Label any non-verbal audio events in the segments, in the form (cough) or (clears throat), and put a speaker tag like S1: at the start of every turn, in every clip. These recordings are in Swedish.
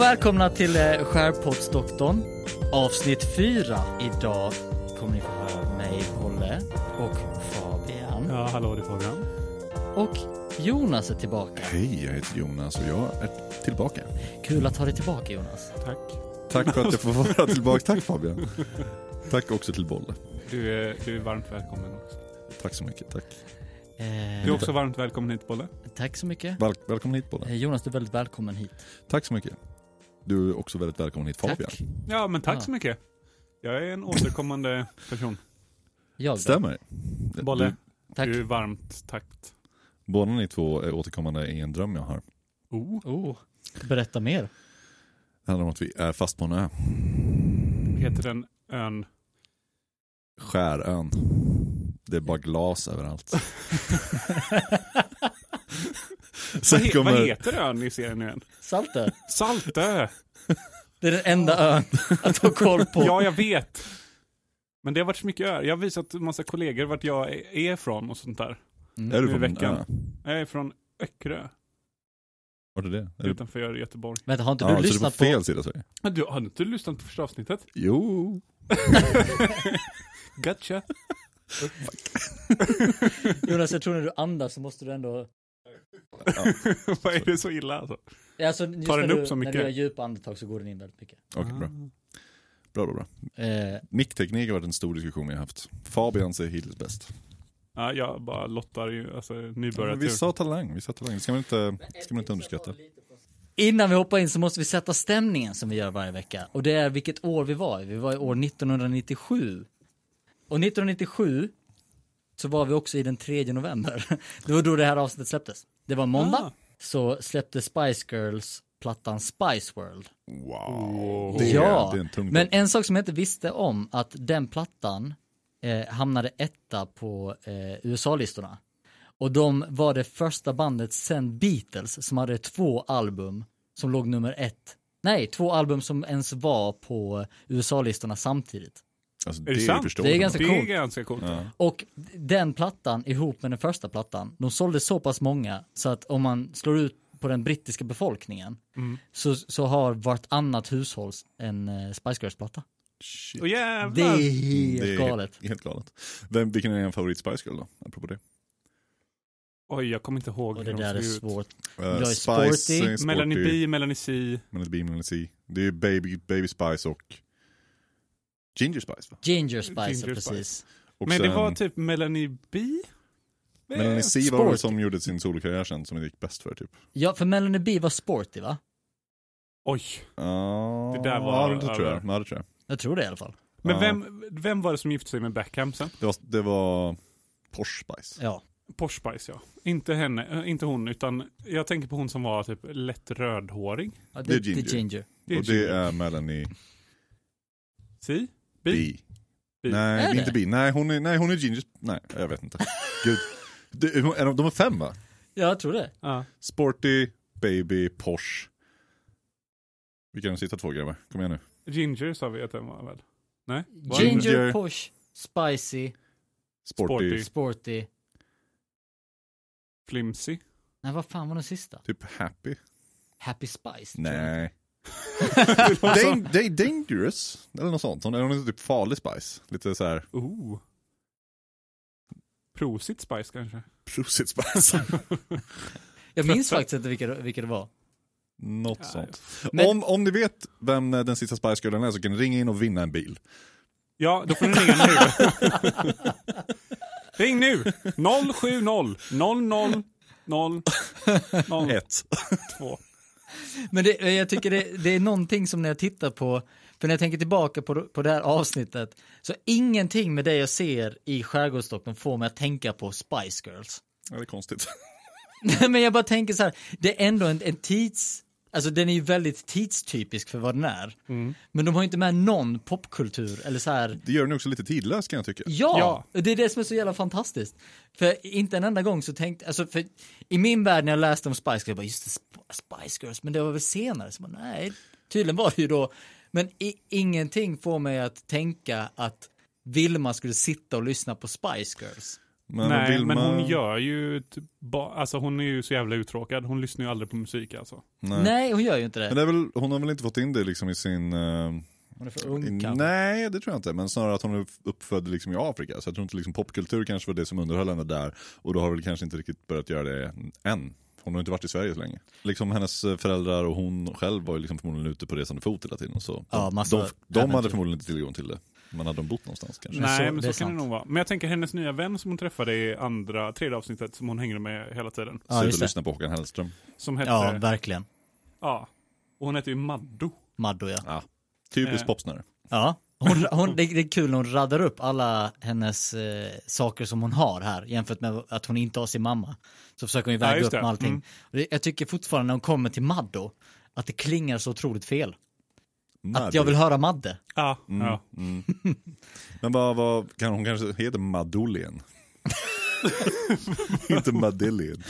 S1: välkomna till eh, Skärpoddsdoktorn. Avsnitt 4. Idag kommer ni få höra mig, Olle och Fabian.
S2: Ja, hallå det är Fabian.
S1: Och Jonas är tillbaka.
S3: Hej, jag heter Jonas och jag är tillbaka.
S1: Kul att ha dig tillbaka Jonas.
S2: Tack.
S3: Tack för att jag får vara tillbaka. Tack Fabian. Tack också till Bolle.
S2: Du är, du är varmt välkommen också.
S3: Tack så mycket. Tack.
S2: Du är
S1: Eh,
S2: också varmt välkommen hit Bolle.
S1: tack så mycket.
S3: Väl- välkommen hit Bolle.
S1: Eh, Jonas, du är väldigt välkommen hit.
S3: Tack så mycket. Du är också väldigt välkommen hit Fabian.
S1: Tack.
S2: Ja, men tack
S1: Ja.
S2: så mycket. Jag är en återkommande person.
S1: Jag då?
S3: Stämmer.
S2: Bolle,
S3: Mm,
S1: Tack.
S2: du är varmt tackt.
S3: Du, båda ni två är återkommande i en dröm jag har.
S2: Oh,
S1: Oh, berätta mer. (laughs)
S3: Det handlar om att vi är fast på en ö.
S2: heter den ön?
S3: Skärön. Det är bara glas överallt.
S2: Vad,
S3: Sen
S2: he, vad
S3: kommer,
S2: heter ön i serien nu igen?
S1: Saltö.
S2: Saltö!
S1: Det är den enda ön att ha koll på.
S2: Ja, jag vet. Men det har varit så mycket öar. Jag har visat en massa kollegor vart jag är- är ifrån och sånt där.
S1: Mm.
S3: är
S2: i
S3: du på en
S2: veckan.
S3: ö?
S2: Jag är från Öckerö,
S3: Var det det? Är du,
S2: utanför Göteborg.
S1: Vänta, har inte
S3: ja,
S1: du
S3: så du är på
S1: lyssnat på...
S3: fel sida Sverige?
S2: Men Du, har inte lyssnat på första avsnittet?
S3: Jo.
S2: Gotcha.
S1: Jonas, jag tror när du andas så måste du ändå...
S3: Ja,
S2: (laughs) Vad är det så illa alltså?
S1: Alltså, just
S2: Tar den
S1: när
S2: upp
S1: du,
S2: så mycket?
S1: När du gör djupa andetag så går den in väldigt mycket.
S3: Okej,
S2: Ah.
S3: bra. Bra, bra, bra.
S1: Eh,
S3: Mickteknik har varit en stor diskussion vi har haft. Fabians är hittills bäst.
S2: Ja, jag bara lottar ju, alltså nybörjartur.
S3: Vi sa talang, vi sa talang. Det ska man inte, ska man inte underskatta.
S1: Innan vi hoppar in så måste vi sätta stämningen som vi gör varje vecka. Och det är vilket år vi var i. Vi var i år 1997. Och 1997 så var vi också i den 3 november. (laughs) Det var då det här avsnittet släpptes. Det var måndag.
S2: Ah.
S1: Så släppte Spice Girls plattan Spice World.
S3: Wow. Det,
S1: ja,
S3: är, det är en tung
S1: men
S3: men...
S1: en sak som jag inte visste om att den plattan eh, hamnade etta på eh, USA-listorna. Och de var det första bandet sen Beatles som hade två album som låg nummer ett. Nej, två album som ens var på USA-listorna samtidigt.
S3: alltså,
S2: det sant?
S3: förstår
S1: Det är
S3: man.
S1: ganska-
S2: det är
S1: coolt.
S2: ganska coolt.
S1: Och den plattan ihop med den första plattan, de sålde så pass många så att om man slår ut på den brittiska befolkningen så, så har vartannat hushåll en eh, Spice Girls-platta.
S3: Shit.
S2: Och
S1: Det
S2: jävlar!
S1: är helt
S3: Det är
S1: galet.
S3: Helt galet. Vem, vilken är din favorit Spice Girl då? Apropå det.
S2: Oj, jag kommer inte ihåg
S1: Och
S2: hur
S1: det
S2: de
S1: där är
S2: såg ut.
S1: svårt.
S3: Eh,
S1: Jag är
S3: Spice,
S1: sporty.
S3: eh, sporty.
S2: Melanie B, Melanie C.
S3: Melanie B, Melanie C. Det är Baby, Baby Spice och Ginger Spice va?
S1: Ginger Spice,
S2: Ginger
S1: ja, precis.
S3: Och
S2: Men det
S3: sen
S2: var typ Melanie B?
S3: Melanie C var
S1: Sporty.
S3: det som gjorde sin solokarriär sen som det gick bäst för typ.
S1: Ja, för Melanie B var sporty va?
S2: Oj.
S3: Ah, Ja,
S2: Det där var
S3: det tror
S2: över.
S3: jag. Ja, det tror jag.
S1: Jag tror det i alla fall.
S2: Men
S3: Ja.
S2: vem, vem var det som gifte sig med Beckham sen?
S3: Det var, det var Porsche Spice.
S1: Ja.
S2: Posh Spice, ja. Inte henne, eh, inte hon, utan jag tänker på hon som var typ lätt rödhårig.
S1: ja
S3: Det är Ginger.
S2: Det
S3: och det är Melanie
S2: C?
S3: B.
S2: B? B.
S3: Nej,
S1: Är
S3: det
S1: det?
S3: är inte B. Nej, hon är, nej, hon är Ginger. Nej, jag
S2: (laughs)
S3: vet inte. Gud. Det, är de, de är fem va?
S1: Ja, jag tror det.
S2: Ja.
S3: Sporty, Baby, Porsche. Vilka är de sista två grabbar? Kom igen nu.
S2: Ginger sa vi att den var väl? Nej? Var det
S1: Ginger,
S2: inte?
S3: Ginger.
S1: Posh, Spicy,
S3: Sporty,
S2: Sporty.
S1: Sporty.
S2: Flimsy?
S1: Nej, vad fan var den sista?
S3: typ Happy.
S1: Happy Spice? tror jag.
S2: (laughs)
S3: Nej. Dang, dang, dangerous, eller något sånt. Hon är, hon är typ farlig Spice. Lite så här
S2: Oh. Prosit Spice kanske? (laughs)
S3: Prusit Spice.
S1: Jag minns faktiskt inte vilka, vilka det var.
S3: något
S2: Ja,
S3: sånt.
S1: Men-
S3: Om, om ni vet vem eh, den sista Spice Girlen är så kan ni ringa in och vinna en bil.
S2: Ja, då får ni ringa nu.
S3: (laughs)
S2: Ring nu! 070 00 0
S3: Ett.
S2: 02.
S1: Men det, eh, jag tycker det, det är någonting som när jag tittar på, för när jag tänker tillbaka på, på det här avsnittet, så ingenting med det jag ser i Skärgårdsdoktorn får mig att tänka på Spice Girls.
S3: Ja, det är konstigt.
S1: Nej (laughs) men jag bara tänker så här, det är ändå en, en tids, alltså den är ju väldigt tidstypisk för vad den är. Men de har ju inte med någon popkultur eller så här,
S3: Det gör den också lite tidlös kan jag tycka.
S1: ja, det är det som är så jävla fantastiskt. För inte en enda gång så tänkte, alltså för i min värld när jag läste om Spice Girls, jag bara just det, Sp- Spice Girls, men det var väl senare, så bara, nej, tydligen var det ju då, men i, ingenting får mig att tänka att Vilma skulle sitta och lyssna på Spice Girls.
S3: (laughs) Men
S2: Nej,
S3: Vilma-
S2: men hon gör ju, typ ba- alltså hon är ju så jävla uttråkad. Hon lyssnar ju aldrig på musik alltså.
S3: Nej.
S1: Nej. hon gör ju inte det.
S3: Men det är väl, hon har väl inte fått in det liksom i sin... eh,
S1: Hon är för
S3: i-
S1: ung kanske.
S3: nej, det tror jag inte. Men snarare att hon är uppfödd liksom i Afrika. Så jag tror inte liksom popkultur kanske var det som underhöll henne där. Och då har väl kanske inte riktigt börjat göra det än. Hon har inte varit i Sverige så länge. Liksom hennes eh, föräldrar och hon själv var ju liksom förmodligen ute på resande fot hela tiden. Så de,
S1: Ja, massa
S3: de, de hade
S1: äventyr.
S3: förmodligen inte tillgång till det. Men hade de bott någonstans kanske?
S1: Men så-
S2: Nej, men
S1: det
S2: så
S1: är
S2: kan
S1: sant.
S2: det nog vara. Men jag tänker hennes nya vän som hon träffade i andra, tredje avsnittet som hon hängde med hela tiden.
S1: Ja,
S3: Sluta
S1: just det.
S3: lyssna på Håkan Hellström.
S2: Som hette,
S1: Ja,
S2: ja.
S1: verkligen.
S2: Och hon hette ju Maddo.
S1: Maddo ja.
S3: Typiskt
S2: Eh.
S3: popsnöre.
S1: Ja, hon, hon, det, det är kul när hon raddar upp alla hennes eh, saker som hon har här jämfört med att hon inte har sin mamma. Så försöker hon ju
S2: Ja,
S1: väga
S2: just
S1: upp
S2: det.
S1: med allting.
S2: Mm.
S1: Och det, jag tycker fortfarande när hon kommer till Maddo, att det klingar så otroligt fel. Att jag vill höra Madde.
S2: Ja. ja.
S3: Mm. Men vad, vad kan hon kanske heter (laughs) Madolien? Inte Madelien.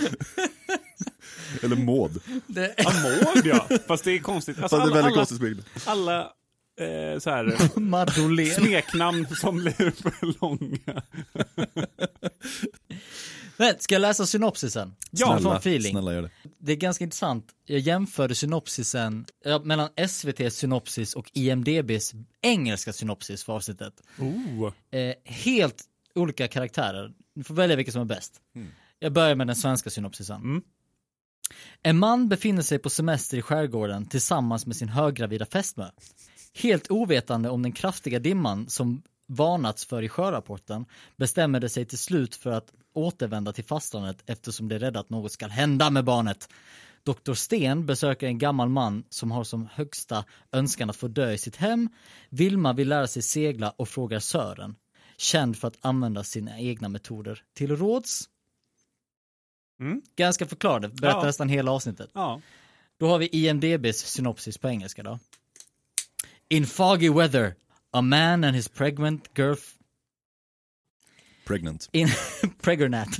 S3: Eller Maud.
S2: Amod ja. Fast det är konstigt. Alltså,
S3: Fast det är
S2: alla
S3: väldigt
S2: alla,
S3: konstigt spegel.
S2: alla eh, så här, (laughs)
S1: Maddolen.
S2: smeknamn som blir för långa.
S1: Men, ska jag läsa synopsisen?
S2: Ja,
S1: Snälla, feeling.
S3: snälla gör det.
S1: Det är ganska intressant. Jag jämförde synopsisen ja, mellan SVTs synopsis och IMDBs engelska synopsis för avsnittet.
S2: Oh.
S1: eh, helt olika karaktärer. Du får välja vilka som är bäst. Jag börjar med den svenska synopsisen.
S2: Mm.
S1: En man befinner sig på semester i skärgården tillsammans med sin höggravida fästmö. Helt ovetande om den kraftiga dimman som varnats för i sjörapporten bestämmer de sig till slut för att återvända till fastlandet eftersom de är rädda att något ska hända med barnet. Dr. Sten besöker en gammal man som har som högsta önskan att få dö i sitt hem. Vilma vill lära sig segla och frågar Sören, känd för att använda sina egna metoder till råds.
S2: Mm.
S1: Ganska förklarande, berättar
S2: Ja.
S1: nästan hela avsnittet.
S2: Ja.
S1: Då har vi IMDBs synopsis på engelska då. In foggy weather, a man and his pregnant girlf...
S3: Pregnant.
S1: In... (laughs) pregnant.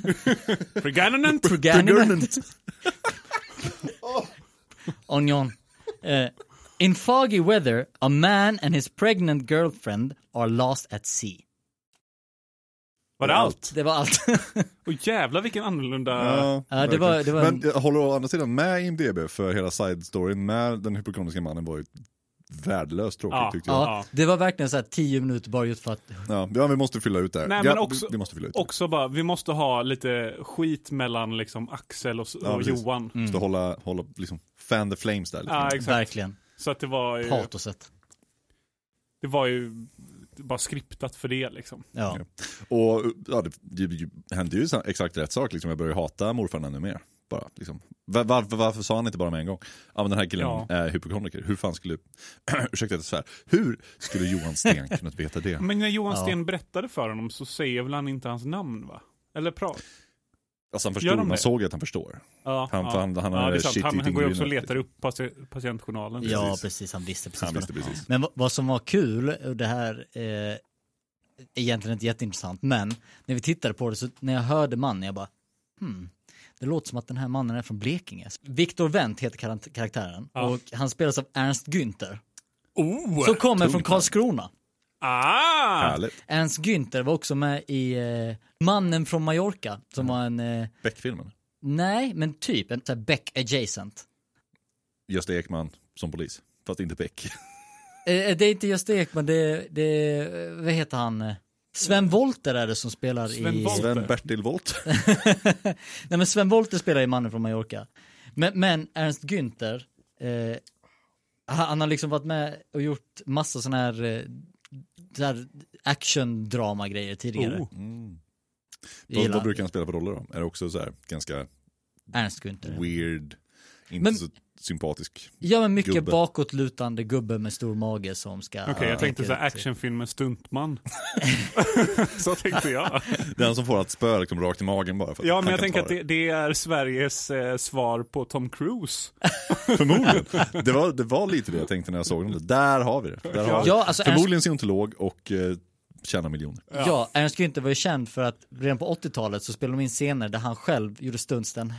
S2: Pregnant.
S1: Pregnant. Onion. Eh, in foggy weather, a man and his pregnant girlfriend are lost at sea.
S2: Var det allt?
S1: Det var allt. (laughs)
S2: Och jävla vilken annorlunda...
S1: Ja, det
S3: verkligen.
S1: var- det var en-
S3: Men jag håller å andra sidan med IMDB för hela side-storyn med den hypokondriska mannen var ju värdelöst tråkigt
S2: Ja.
S3: tyckte jag. Ja.
S1: ja, det var verkligen så här tio minuter bara just för att...
S3: Ja, vi måste fylla ut det här.
S2: Nej,
S3: ja,
S2: men också-
S3: vi, vi måste fylla ut det.
S2: Också bara, vi måste ha lite skit mellan liksom Axel och,
S3: Ja,
S2: och
S3: precis. Mm.
S2: Johan.
S3: Måste hålla, hålla liksom, fan the flames där. Liksom.
S2: Ja, exakt.
S1: Verkligen.
S2: Så att det var ju,
S1: Patoset.
S2: det var ju bara skriptat för det liksom.
S1: Ja.
S3: Ja. Och ja, det, det, det hände ju sa- exakt rätt sak, liksom. jag började hata morfar ännu mer. Bara, liksom. Var- varför, varför sa han inte bara med en gång? Ja men den här killen
S2: Ja.
S3: är hypokondriker, hur fan skulle, (clears throat) ursäkta att jag svär, hur skulle Johan Sten kunnat veta det?
S2: Men när Johan
S1: Ja.
S2: Sten berättade för honom så säger väl han inte hans namn va? Eller prat?
S3: Alltså han
S2: Gör
S3: förstod,
S2: de
S3: man
S2: det?
S3: såg ju att han förstår.
S2: Ja,
S3: Han-
S2: ja.
S3: för han- han
S2: ja,
S3: är
S2: det är sant.
S3: shit
S2: Han, han
S3: eating
S2: går ju också och
S3: green.
S2: letar upp pati- patientjournalen.
S1: Ja, precis. Han visste precis
S3: Han
S1: vad
S3: visste
S1: det var.
S3: precis.
S1: Men vad- vad som var kul, och det här eh, egentligen inte jätteintressant, men när vi tittade på det så när jag hörde mannen, jag bara hmm, det låter som att den här mannen är från Blekinge. Viktor Wendt heter karan- karaktären
S2: Ja.
S1: och han spelas av Ernst Günther.
S2: Oh!
S1: Som kommer
S3: tungt
S1: från
S3: namn.
S1: Karlskrona.
S2: ah!
S3: Härligt.
S1: Ernst Günther var också med i eh, Mannen från Mallorca, som var en, eh,
S3: Beck-filmen,
S1: nej, men typ en så här Beck adjacent.
S3: Gösta Ekman som polis, fast inte Beck.
S1: Eh, det är inte Gösta Ekman, det är, det är, eh, vad heter han? eh, Sven Wollter är det som spelar
S2: Sven
S1: i...
S2: Wollter. (laughs)
S3: Sven-Bertil Volt.
S1: Nej men Sven Wollter spelar i Mannen från Mallorca. Men, men Ernst Günther, eh, han han har liksom varit med och gjort massa sådana här, eh, så här action-drama-grejer tidigare.
S2: Oh.
S3: Mm.
S1: Jag
S3: Vad,
S1: gillar
S3: vad brukar han spela för roller då? Är det också så här ganska
S1: Ernst Günther.
S3: weird, inte
S1: Men-
S3: så sympatisk?
S1: Ja men mycket
S3: Gubbe.
S1: bakåtlutande gubbe med stor mage som ska...
S2: Okej, jag tänkte så här actionfilm med (laughs) stuntman. så tänkte jag.
S3: Den som får allt spö liksom rakt i magen bara för att
S2: Ja,
S3: han
S2: men jag
S3: kan
S2: tänker
S3: ta
S2: att det, det är Sveriges eh, svar på Tom Cruise.
S3: Förmodligen. (laughs) Det var, det var lite det jag tänkte när jag såg den. Där har vi det. Där har vi det.
S1: Ja, alltså Ernst,
S3: Förmodligen scientolog och eh, tjänar miljoner.
S1: ja, Ernst Günther var ju känd för att redan på 80-talet så spelade de in scener där han själv gjorde stunts där han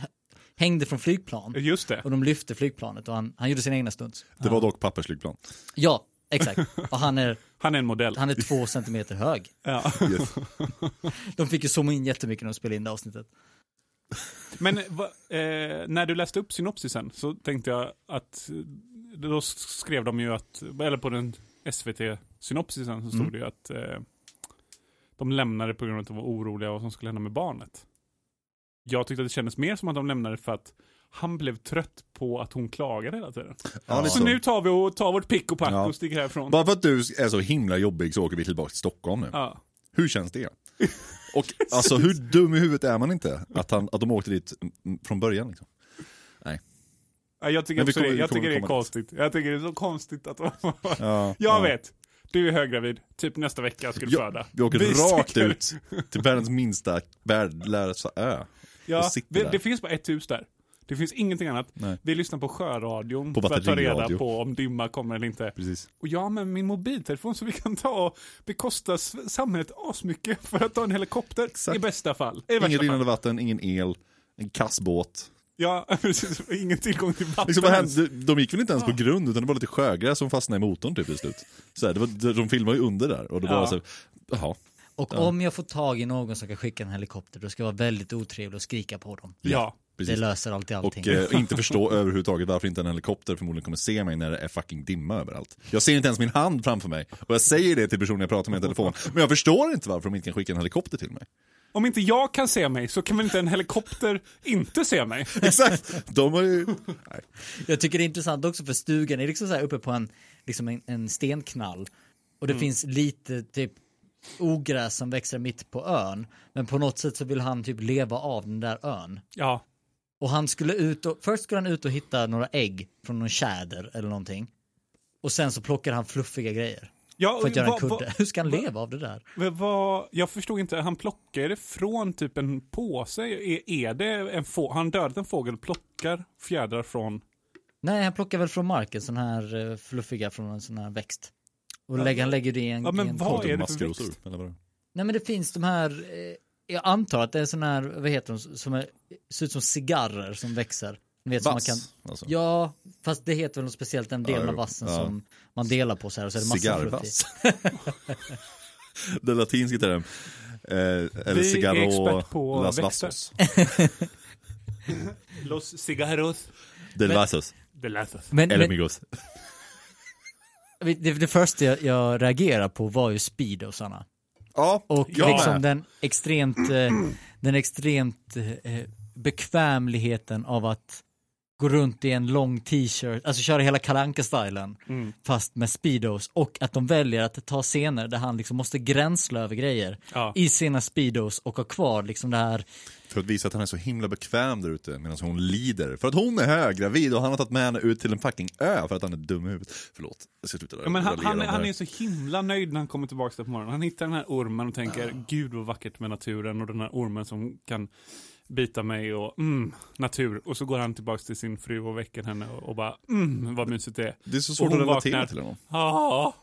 S1: hängde från flygplan.
S2: Eh, Just det.
S1: Och de lyfte flygplanet och han, han gjorde sina egna stunts.
S3: Det var dock pappersflygplan.
S1: Ja, exakt. Och han är
S2: Han är en modell.
S1: Han är två centimeter hög.
S2: (laughs) Ja.
S3: Yes.
S1: De fick ju zooma in jättemycket när de spelade in det avsnittet.
S2: Men va, eh, när du läste upp synopsisen så tänkte jag att eh, då skrev de ju att, eller på den SVT-synopsisen så stod
S1: Mm.
S2: det ju att eh, de lämnade på grund av att de var oroliga vad som skulle hända med barnet. Jag tyckte att det kändes mer som att de lämnade för att han blev trött på att hon klagade hela tiden.
S3: Ja, lite
S2: Så nu tar vi och tar vårt pick och pack
S3: Ja.
S2: och sticker härifrån.
S3: Alltså, Bara för att du är så himla jobbig så åker vi tillbaka till Stockholm nu.
S2: Ja.
S3: Hur
S2: (laughs)
S3: känns det? Och alltså hur dum i huvudet är man inte? Att, han, att de åkte dit mm, från början liksom.
S2: Ja, Jag tycker,
S3: Men vi
S2: också det,
S3: kommer- vi
S2: jag
S3: kommer
S2: tycker det är
S3: komma dit.
S2: konstigt. Jag tycker det är så konstigt att (laughs) de
S3: Ja,
S2: Jag vet. Du är höggravid. Typ nästa vecka ska du
S3: Ja,
S2: föda.
S3: Vi åker
S2: Vi
S3: rakt
S2: sticker.
S3: ut till världens minsta, värdelösa ö.
S2: Ja,
S3: och sitter
S2: vi,
S3: där.
S2: det finns bara ett hus där. Det finns ingenting annat.
S3: Nej.
S2: Vi lyssnar på sjöradion
S3: På
S2: för att ta reda
S3: batteriradio.
S2: på om dimma kommer eller inte.
S3: Precis.
S2: Och jag har med min mobiltelefon så vi kan ta och bekosta s- samhället asmycket för att ta en helikopter
S3: Exakt.
S2: i bästa fall. I
S3: Inget
S2: värsta fall.
S3: rinnande vatten, ingen el, en kass båt.
S2: Ja, (laughs) precis. Ingen tillgång till vatten.
S3: Liksom, vad
S2: ens.
S3: hände? De gick väl inte ens på grund utan det var lite sjögräs som fastnade i motorn typ i slut. Så här, det var, de filmar ju under där och det var
S2: Ja.
S3: så här, jaha.
S1: Och om jag får tag i någon som kan skicka en helikopter, då ska jag vara väldigt otrevlig och skrika på dem.
S2: Ja.
S1: Det
S3: Precis.
S1: löser alltid allting.
S3: Och eh,
S2: (laughs)
S3: inte förstå överhuvudtaget varför inte en helikopter förmodligen kommer se mig när det är fucking dimma överallt. Jag ser inte ens min hand framför mig. Och jag säger det till personen jag pratar med i telefon. Men jag förstår inte varför de inte kan skicka en helikopter
S2: (laughs)
S3: till mig.
S2: Om inte jag kan se mig så kan väl inte en helikopter inte se mig?
S3: Exakt! De har ju... Nej.
S1: Jag tycker det är intressant också för stugan är liksom så här uppe på en, liksom en, en stenknall. Och det finns lite typ ogräs som växer mitt på ön. Men på något sätt så vill han typ leva av den där ön.
S2: Ja.
S1: Och han skulle ut och, först skulle han ut och hitta några ägg från någon tjäder eller någonting. Och sen så plockar han fluffiga grejer.
S2: ja och
S1: För att göra en
S2: vad- vad-
S1: kudde. Hur ska han leva av det där?
S2: Men vad, jag förstod inte, han plockade det från typ en påse. Är, är det en få, han dödat en fågel och plockar fjädrar från...
S1: Nej, han plockar väl från marken sån här eh, fluffiga från en sån här växt. Och lägger, han lägger det i en,
S2: Ja, men
S1: i en
S2: vad
S1: korg.
S2: är det för
S3: Maskrosor,
S2: växt?
S3: eller vad det är.
S1: Nej men det finns de här, eh, jag antar att det är sån här, vad heter de, som är, ser ut som cigarrer som växer. Ni vet, som man
S3: Vass.
S1: kan,
S3: alltså.
S1: ja, fast det heter väl något speciellt, den delen
S3: Ja,
S1: av
S3: jo.
S1: vassen
S3: Ja.
S1: som man delar på så här och så är det massa fluffigt.
S3: Cigarrvass. (laughs) Den latinska termen. Eh, eller
S2: Vi är
S3: cigarro
S2: expert på
S3: las
S2: växter.
S3: vasos.
S2: Los cigarros
S3: Del
S1: Men-
S3: vasos.
S2: de lazos.
S1: Men,
S3: El
S1: men
S3: amigos.
S1: det, det första jag, jag reagerar på var ju speedosarna.
S3: Ja,
S1: Och
S2: Ja.
S1: liksom den extremt, eh, den extremt eh, bekvämligheten av att gå runt i en lång t-shirt, alltså köra hela kalanka stylen
S2: Mm.
S1: fast med speedos och att de väljer att ta scener där han liksom måste gränsla över grejer
S2: Ja.
S1: i sina speedos och ha kvar liksom det här,
S3: För att visa att han är så himla bekväm där ute medan hon lider. För att hon är höggravid och han har tagit med henne ut till en fucking ö för att han är dum i huvudet. Förlåt, jag ska sluta där.
S2: Ja, men han,
S3: raljera
S2: han,
S3: om det här.
S2: han är så himla nöjd när han kommer tillbaka där på morgonen. Han hittar den här ormen och tänker, gud vad vackert med naturen och den här ormen som kan bita mig och mm, natur. Och så går han tillbaka till sin fru och väcker henne och, och bara, mm, vad mysigt det är.
S3: Det är så svårt
S2: Och
S3: att
S2: hon
S3: relatera
S2: vaknar.
S3: till honom.
S2: Ja,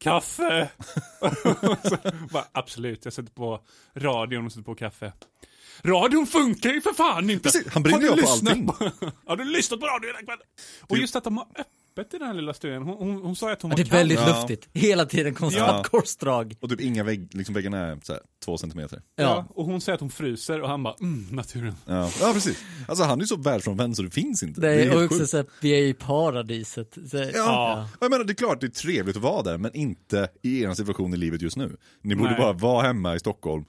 S2: kaffe. (laughs) så, bara, absolut, jag sätter på radion och sätter på kaffe. Radion funkar ju för fan inte!
S3: Precis, han brinner
S2: Har du
S3: ju på
S2: lyssnat
S3: allting.
S2: På, (laughs) har du lyssnat på radion hela kvällen? Och just att de har öppet i den här lilla stugan. Hon, hon, hon sa ju att hon
S1: ja,
S2: var
S1: det är väldigt
S3: Ja.
S1: luftigt, hela tiden konstant korsdrag.
S3: Och typ inga vägg, liksom väggarna är så här, två centimeter.
S1: Ja.
S2: Ja, och hon säger att hon fryser och han bara, mm, naturen. (laughs)
S3: Ja. ja, precis. Alltså han är ju så världsfrånvänd så det finns inte.
S1: Det
S3: helt
S1: är och också
S3: sjukt.
S1: så här, vi är i paradiset. Så,
S3: Ja. Jag menar, det är klart det är trevligt att vara där, men inte i er situation i livet just nu. Ni borde
S2: Nej.
S3: bara vara hemma i Stockholm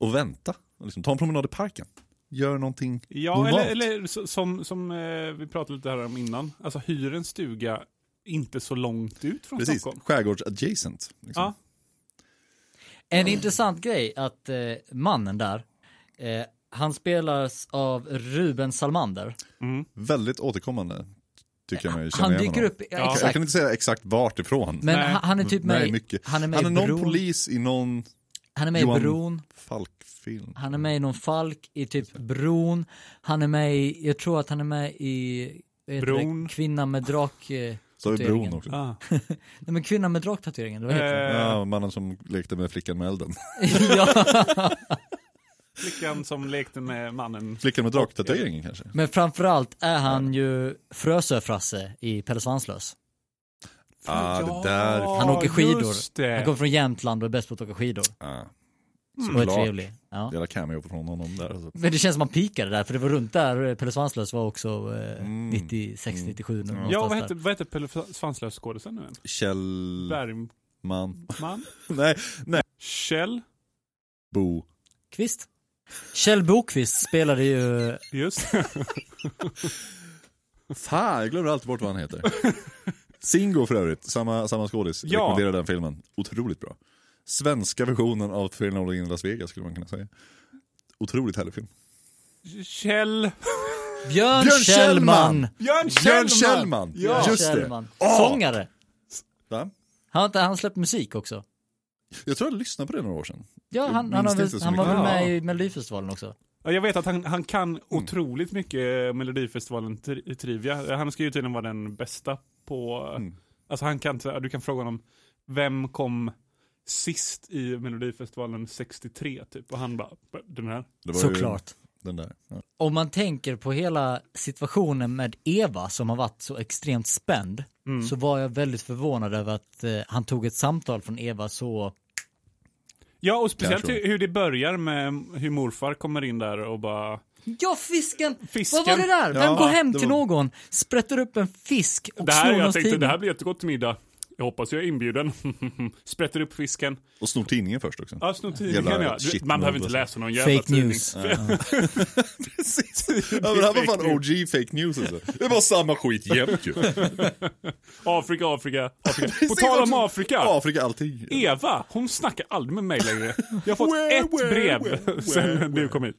S3: och vänta. Och Liksom, ta en promenad i parken. Gör någonting
S2: Ja,
S3: normalt.
S2: eller, eller så- som, som eh, vi pratade lite här om innan, alltså hyr en stuga inte så långt ut från
S3: Precis,
S2: Stockholm.
S3: skärgårds-adjacent. Liksom.
S2: Ja,
S1: En intressant grej att eh, mannen där, eh, han spelas av Ruben Salmander.
S3: Väldigt återkommande, tycker jag mig känna
S1: Han
S3: igen
S1: dyker
S3: honom.
S1: upp, ja,
S2: Ja.
S3: Jag
S1: exakt.
S3: kan inte säga exakt vart ifrån.
S1: Men
S2: Nej.
S1: han, han är typ med,
S3: Nej,
S1: i-
S3: mycket.
S1: han är med
S3: Han är
S1: i
S3: någon
S1: Bron,
S3: polis i någon
S1: han är med
S3: Johan-
S1: i Bron,
S3: Falk-film.
S1: han är med i någon Falk, i typ Bron, han är med i, jag tror att han är med i vad heter
S2: Bron.
S1: Det, Kvinna med drak... eh,
S3: Så har vi
S1: tatueringen.
S3: Bron också.
S2: ah.
S1: Nej men Kvinna med draktatueringen, vad heter
S2: eh,
S3: Ja, mannen som lekte med flickan med elden. (laughs)
S1: det? (laughs) ja.
S2: flickan som lekte med mannen.
S3: Flickan med draktatueringen kanske?
S1: Men framförallt är han ju Frösö-Frasse i Pelle Svanslös.
S3: Ah, det där.
S1: Han åker
S2: just
S1: skidor.
S2: det.
S1: Han kommer från Jämtland och är bäst på att åka skidor.
S3: Ah,
S1: Och är
S3: Såklart.
S1: trevlig. Ja.
S3: jävla cameo från honom där. Alltså.
S1: Men det känns som att man pikade där, för det var runt där eh, Pelle Svanslös var också eh,
S3: Mm.
S1: 96, 97 någonstans
S2: Ja, vad
S1: där.
S2: heter, vad heter Pelle Svanslös skådisen nu igen?
S3: Kjellman.
S2: Mm. (laughs)
S3: nej, nej.
S2: Kjell,
S3: Bo.
S1: Kvist. Kjell Bokvist spelade ju eh,
S2: just det.
S3: Fan, jag glömmer alltid bort vad han heter. Singo för övrigt, samma, samma skådis.
S2: Ja.
S3: Rekommenderar den filmen. Otroligt bra. Svenska versionen av Three Nolan in Las Vegas skulle man kunna säga. Otroligt härlig film.
S2: Kjell,
S1: Björn,
S3: Björn
S1: Kjellman.
S3: Kjellman.
S2: Björn
S3: Björn
S2: Kjellman!
S3: Kjellman!
S2: Ja.
S3: Just
S1: Kjellman.
S3: det. Åh!
S1: Sångare.
S3: Va?
S1: Han, har inte- han släppte musik också.
S3: Jag tror jag lyssnade på det några år sedan.
S1: Ja,
S3: Jag
S1: han,
S3: minns
S1: han, har
S3: det inte
S1: väl,
S3: så
S1: han var väl
S3: mycket.
S1: med
S2: Ja.
S1: i Melodifestivalen också.
S2: Ja, jag vet att han, han kan
S3: Mm.
S2: otroligt mycket eh, Melodifestivalen tri- trivia. Eh, Han ska ju tydligen vara den bästa på...
S3: Mm.
S2: Alltså han kan, du kan fråga honom, vem kom sist i Melodifestivalen 63 typ? Och han bara, den här.
S3: Det ju
S1: Såklart.
S3: Den där. Ja.
S1: Om man tänker på hela situationen med Eva som har varit så extremt spänd
S2: Mm.
S1: så var jag väldigt förvånad över att eh, han tog ett samtal från Eva så
S2: Ja, och speciellt
S3: Kanske.
S2: hur, hur det börjar med hur morfar kommer in där och bara...
S1: Ja, fisken!
S2: Fisken.
S1: Vad var det där? Vem
S3: Ja,
S1: går hem
S3: det
S1: till
S3: var-
S1: någon, sprätter upp en fisk och
S2: Det här,
S1: snor
S2: jag
S1: någons
S2: tänkte,
S1: tidning?
S2: det här blir jättegott till middag. Jag hoppas jag är inbjuden. (laughs) Sprätter upp fisken.
S3: Och snor tidningen först också.
S2: Ja, snor tidningen
S3: Jävla
S2: ja. Du-
S3: shit
S2: Man behöver
S3: mode,
S2: inte läsa någon jävla
S1: Fake
S2: tidning.
S1: news.
S3: Precis. (laughs) Ja, men det här var fan OG fake news alltså. Det var samma skit jämt ju.
S2: Afrika, Afrika,
S3: (laughs)
S2: Afrika. På tal om Afrika.
S3: Afrika, allting.
S2: Eva, hon snackar aldrig med mig längre. Jag har fått
S3: Where,
S2: ett
S3: where,
S2: brev
S3: where,
S2: (laughs)
S3: where,
S2: sen du kom hit.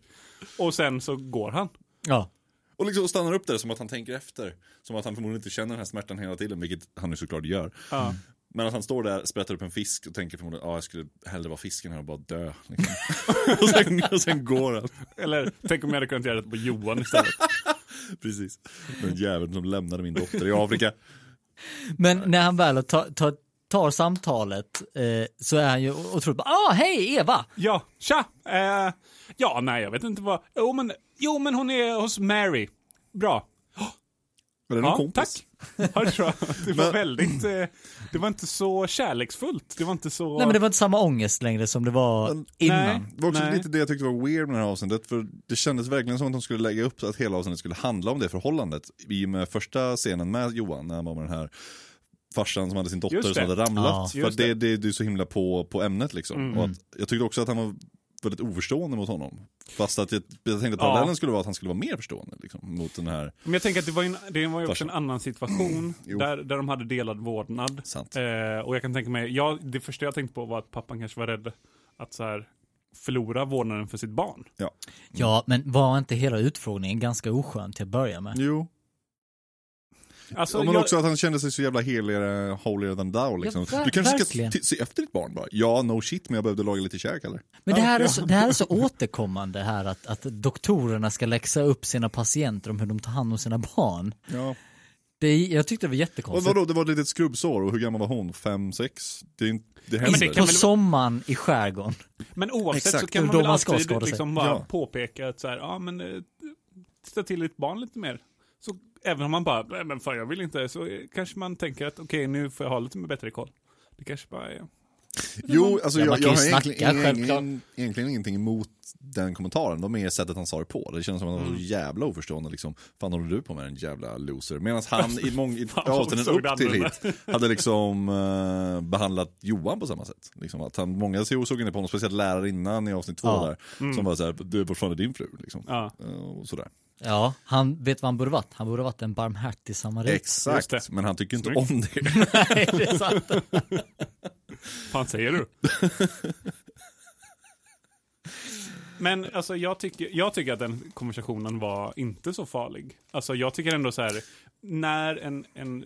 S2: Och sen så går han.
S1: Ja.
S3: Och liksom stannar upp där som att han tänker efter. Som att han förmodligen inte känner den här smärtan hela tiden, vilket han ju såklart gör.
S2: Ja.
S3: Men att han står där, sprättar upp en fisk och tänker förmodligen ja jag skulle hellre vara fisken här och bara dö.
S2: (laughs)
S3: Liksom. (laughs) och, sen, och sen går han.
S2: Eller tänk om jag hade kunnat göra det på Johan istället.
S3: Precis. Den jäveln som lämnade min dotter i Afrika.
S1: Men när han väl tar, tar, tar samtalet eh, så är han ju otroligt bara, ah hej Eva!
S2: Ja, tja! Eh, ja, nej, jag vet inte vad. Jo men, jo, men hon är hos Mary. Bra.
S3: Var det någon
S2: Ja,
S3: kompis?
S2: tack. Ja, det tror jag. Det var
S3: Men-
S2: väldigt, eh, det var inte så kärleksfullt. Det var inte så...
S1: Nej men det var inte samma ångest längre som det var innan.
S2: Nej.
S3: Det var också
S2: Nej.
S3: lite det jag tyckte var weird med det här avsnittet, för det kändes verkligen som att de skulle lägga upp så att hela avsnittet skulle handla om det förhållandet. I och med första scenen med Johan, när han var med den här farsan som hade sin dotter
S2: Just det.
S3: som hade
S1: Ja.
S3: ramlat. för
S2: Just Mm.
S3: att det, det, det är så himla på, på ämnet liksom. Och att, jag tyckte också att han var väldigt oförstående mot honom. Fast att jag, jag tänkte att
S2: Ja.
S3: parallellen skulle vara att han skulle vara mer förstående liksom, mot den här
S2: Men jag tänker att det var, en, det var ju också
S3: Varsågod.
S2: en annan situation
S3: Jo.
S2: där, där de hade delad vårdnad.
S3: Sant.
S2: Eh, och jag kan tänka mig, ja, det första jag tänkte på var att pappan kanske var rädd att så här, förlora vårdnaden för sitt barn.
S3: Ja.
S1: Ja men var inte hela utfrågningen ganska oskön till att börja med?
S3: Jo.
S2: Alltså,
S3: Ja, men
S2: jag,
S3: också att han kände sig så jävla heligare, holier than thou liksom.
S1: Ja, ver-
S3: du kanske ska
S1: verkligen.
S3: t- se efter ditt barn bara. Ja, no shit, men jag behövde laga lite käk eller?
S1: Men det här är så, det här är så återkommande här att, att doktorerna ska läxa upp sina patienter om hur de tar hand om sina barn.
S3: Ja.
S1: Det, är- jag tyckte det var
S3: Och
S1: jättekonstigt.
S3: vadå, det var ett litet skrubbsår och hur gammal var hon? Fem, sex? Det, är inte- det
S2: men
S3: händer.
S2: det
S1: På
S2: kan väl-
S1: sommaren i skärgården.
S2: men oavsett
S3: Exakt.
S2: så kan
S1: Det är
S2: man
S1: då
S2: väl
S1: man ska
S2: alltid
S1: skada sig.
S2: liksom bara
S3: Ja.
S2: påpeka att så här, ja men eh, titta till ditt barn lite mer. Så även om man bara, nej men fan jag vill inte, så eh, kanske man tänker att okej nu får jag ha lite mer bättre koll. Det kanske bara är...
S3: Jo, alltså
S1: Ja, man
S3: jag,
S1: kan
S3: jag
S1: ju
S3: har
S1: snacka,
S3: egentligen,
S1: självklart.
S3: egentligen, egentligen ingenting emot den kommentaren. Det var mer sättet han sa det på. Det kändes som att han var
S2: Mm.
S3: så jävla oförstående liksom. Fan håller du på med den jävla loser? Medan
S2: (laughs)
S3: han i många i
S2: vad
S3: avsnitten
S2: såg det
S3: upp till
S2: annorlunda.
S3: hit
S2: (laughs)
S3: hade liksom eh, behandlat Johan på samma sätt. Liksom att han, många såg ner på honom, speciellt lärarinnan i avsnitt två
S1: Ja.
S3: där. Som var såhär, du är fortfarande din fru liksom.
S2: Mm. Ja.
S3: Eh, och sådär.
S1: Ja, han vet vad han borde varit. Han borde varit en barmhärtig samarit.
S2: Just
S3: Exakt,
S2: det.
S3: men han tycker inte
S2: Snyggt.
S3: om det.
S1: Nej, det är sant.
S2: fan säger du? Men alltså jag tycker, jag tycker att den konversationen var inte så farlig. Alltså jag tycker ändå så här, när en, en,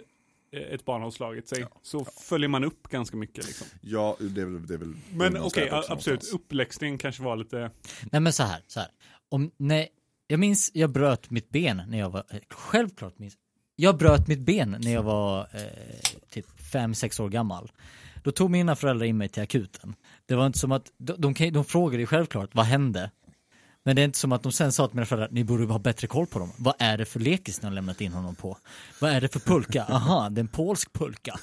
S2: eh, ett barn har slagit sig så följer man upp ganska mycket liksom.
S3: Ja, det är väl... Det är väl
S2: Men
S3: någonstans
S2: okej,
S3: där också
S2: absolut,
S3: liksom någonstans.
S2: uppläxningen kanske var lite,
S1: Nej men så här, så här. Om, nej, jag minns, jag bröt mitt ben när jag var, eh, självklart minns jag bröt mitt ben när jag var eh, typ 5-6 år gammal. Då tog mina föräldrar in mig till akuten. Det var inte som att, de, de, kan- de frågade ju självklart, vad hände? Men det är inte som att de sen sa till mina föräldrar, ni borde ha bättre koll på dem. Vad är det för lekis ni har lämnat in honom på? Vad är det för pulka? Aha, det är en polsk pulka.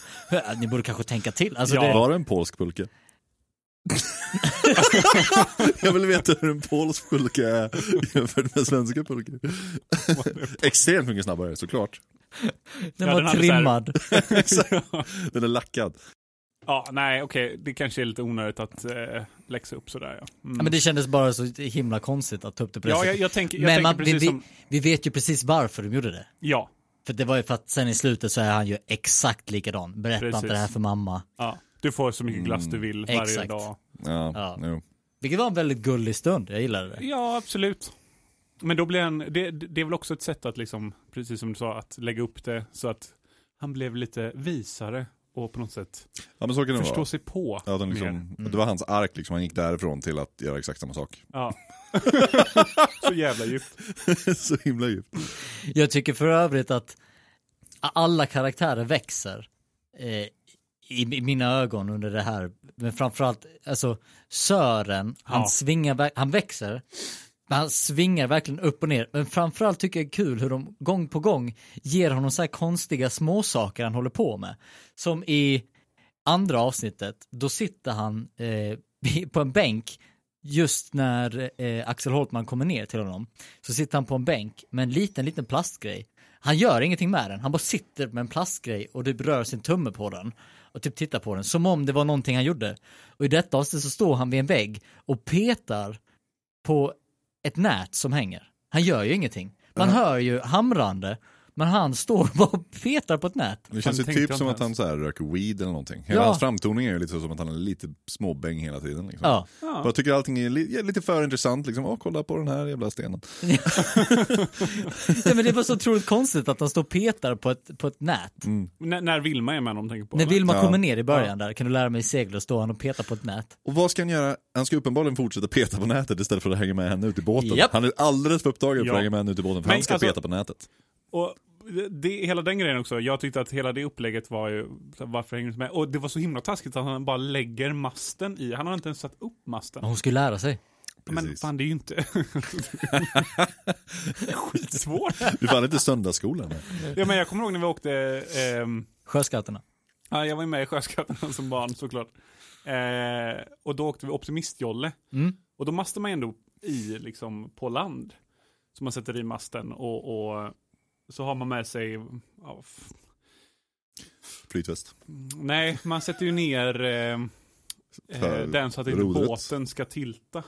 S1: Ni borde kanske tänka till. Alltså, det,
S3: Var det en polsk pulka? jag vill veta hur en polsk pulka är jämfört med svenska pulkor. Extremt mycket snabbare såklart.
S1: den
S2: Ja,
S1: var
S2: den hade så här-
S1: trimmad.
S3: Den är lackad.
S2: Ja, nej, okej. Det kanske är lite onödigt att eh, läxa upp sådär. Ja. Mm.
S1: Ja, men det kändes bara så himla konstigt att ta upp det på det
S2: ja, jag,
S1: sättet.
S2: jag tänker, jag
S1: Men
S2: tänker
S1: man, vi,
S2: precis
S1: vi,
S2: som...
S1: vi vet ju precis varför de gjorde det.
S2: Ja,
S1: För det var ju för att sen i slutet så är han ju exakt likadan. Berätta
S2: Precis.
S1: inte det här för mamma.
S2: ja. Du får så mycket glass du vill varje
S1: exakt.
S2: dag.
S3: Ja,
S1: Ja.
S3: Jo.
S1: Vilket var en väldigt gullig stund, jag gillade det.
S2: Ja, absolut. Men då blir han, det, det är väl också ett sätt att liksom, precis som du sa, att lägga upp det så att han blev lite visare och på något sätt
S3: ja men så kan det
S2: förstå
S3: vara.
S2: sig på.
S3: Ja, den liksom,
S2: mer.
S3: Det var hans ark liksom, han gick därifrån till att göra exakt
S2: (laughs)
S3: samma sak.
S2: Ja. så jävla djupt.
S3: så himla djupt.
S1: Jag tycker för övrigt att alla karaktärer växer eh, i, i mina ögon under det här. Men framförallt, alltså Sören, han
S2: Ja.
S1: svingar, verk- han växer. Men han svingar verkligen upp och ner. Men framförallt tycker jag det är kul hur de gång på gång ger honom så här konstiga småsaker han håller på med. Som i andra avsnittet, då sitter han eh, (laughs) på en bänk just när eh, Axel Holtman kommer ner till honom. Så sitter han på en bänk med en liten, liten plastgrej. Han gör ingenting med den, han bara sitter med en plastgrej och typ rör sin tumme på den. Och typ tittar på den, som om det var någonting han gjorde. Och i detta avsnitt så står han vid en vägg och petar på ett nät som hänger. Han gör ju ingenting. Man hör ju hamrande, men han står (laughs) bara och petar på ett nät.
S3: Det känns ju
S2: tänkte
S3: typ
S2: jag
S3: som
S2: inte
S3: att han
S2: ens.
S3: så här, röker weed eller någonting. Hela
S1: Ja.
S3: hans framtoning är ju lite så som att han är lite småbäng hela tiden. Liksom.
S1: Ja.
S3: Och Jag tycker allting är li- lite för intressant, liksom, åh kolla på den här jävla stenen.
S1: Nej, men det var så otroligt konstigt att han står och petar på ett, på ett nät.
S2: När, när Vilma är med honom tänker på.
S1: När
S2: eller?
S1: Vilma
S3: Ja.
S1: kommer ner i början där, kan du lära mig segla, står han och petar på ett nät.
S3: Och vad ska han göra? Han ska uppenbarligen fortsätta peta på nätet istället för att hänga med henne ut i båten.
S1: Japp.
S3: Han är alldeles för upptagen för
S2: Ja.
S3: att hänga med henne ut i båten, för
S2: Men
S3: han ska
S2: alltså-
S3: peta på nätet.
S2: Och det- det, hela den grejen också. Jag tyckte att hela det upplägget var ju, så här, varför hänger du inte med? Och det var så himla taskigt att han bara lägger masten i. Han har inte ens satt upp masten.
S1: Men hon skulle lära sig.
S2: Men
S3: precis.
S2: fan, det är ju inte... (laughs)
S3: (laughs)
S2: Skitsvårt.
S3: Du fan inte söndagsskolan. eh, va?
S2: Ja, men jag kommer ihåg när vi åkte, ehm,
S1: Sjöskatterna.
S2: ja, jag var ju med i Sjöskatterna som barn såklart. Eh, och då åkte vi optimistjolle.
S1: Mm.
S2: Och då mastar man ju ändå i, liksom på land. Så man sätter i masten och, och så har man med sig, ja, f-
S3: Flytväst.
S2: nej, man sätter ju ner eh, eh,
S3: För
S2: den så att inte
S3: rodret.
S2: båten ska tilta.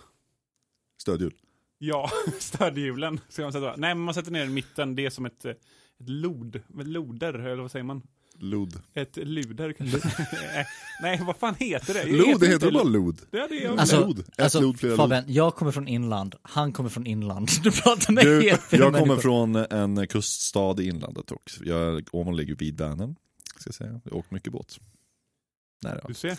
S3: Stödhjul.
S2: Ja, (laughs) stödhjulen ska man sätta. Nej, men man sätter ner den i mitten. Det är som ett, eh, ett lod, ett loder, eller vad säger man?
S3: Lod.
S2: Ett luder kanske? (laughs) Nej, Nej, vad fan heter det?
S3: Lod, det heter
S2: inte
S3: bara lod.
S2: Ja, det är
S1: Alltså,
S3: lod. Ett
S1: alltså
S3: lod, flera lod.
S1: Fabian, jag kommer från inland, han kommer från inland. (laughs) Du pratar med
S3: Du,
S1: helt fel
S3: jag kommer
S1: människor.
S3: från en kuststad i inlandet också. Jag, Åmål ligger vid Vänern. Ska jag säga. Jag har åkt mycket båt. Där ja.
S2: Du ser.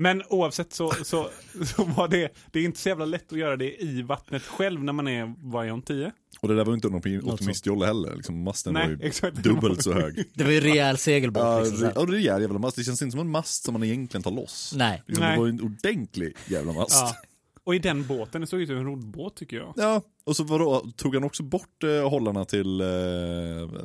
S2: Men oavsett så, så, så var det, det är inte så jävla lätt att göra det i vattnet själv när man är, vad är hon, 10?
S3: Och det där var ju inte någon optim-
S1: sånt.
S3: optimistjolle heller. Liksom, masten var
S2: Nej,
S3: ju
S2: (laughs) exakt.
S3: dubbelt så hög.
S1: Det var ju rejäl segelbåt
S3: Ja,
S1: liksom, så här.
S3: det- ja, det är en jävla mast. Det känns inte som en mast som man egentligen tar loss.
S1: Nej.
S3: Liksom,
S2: Nej.
S3: Det var ju en ordentlig jävla mast.
S2: Ja. Och i den båten, det såg ut som en roddbåt tycker jag.
S3: (laughs) Ja, och så vadå, tog han också bort eh, hållarna till eh,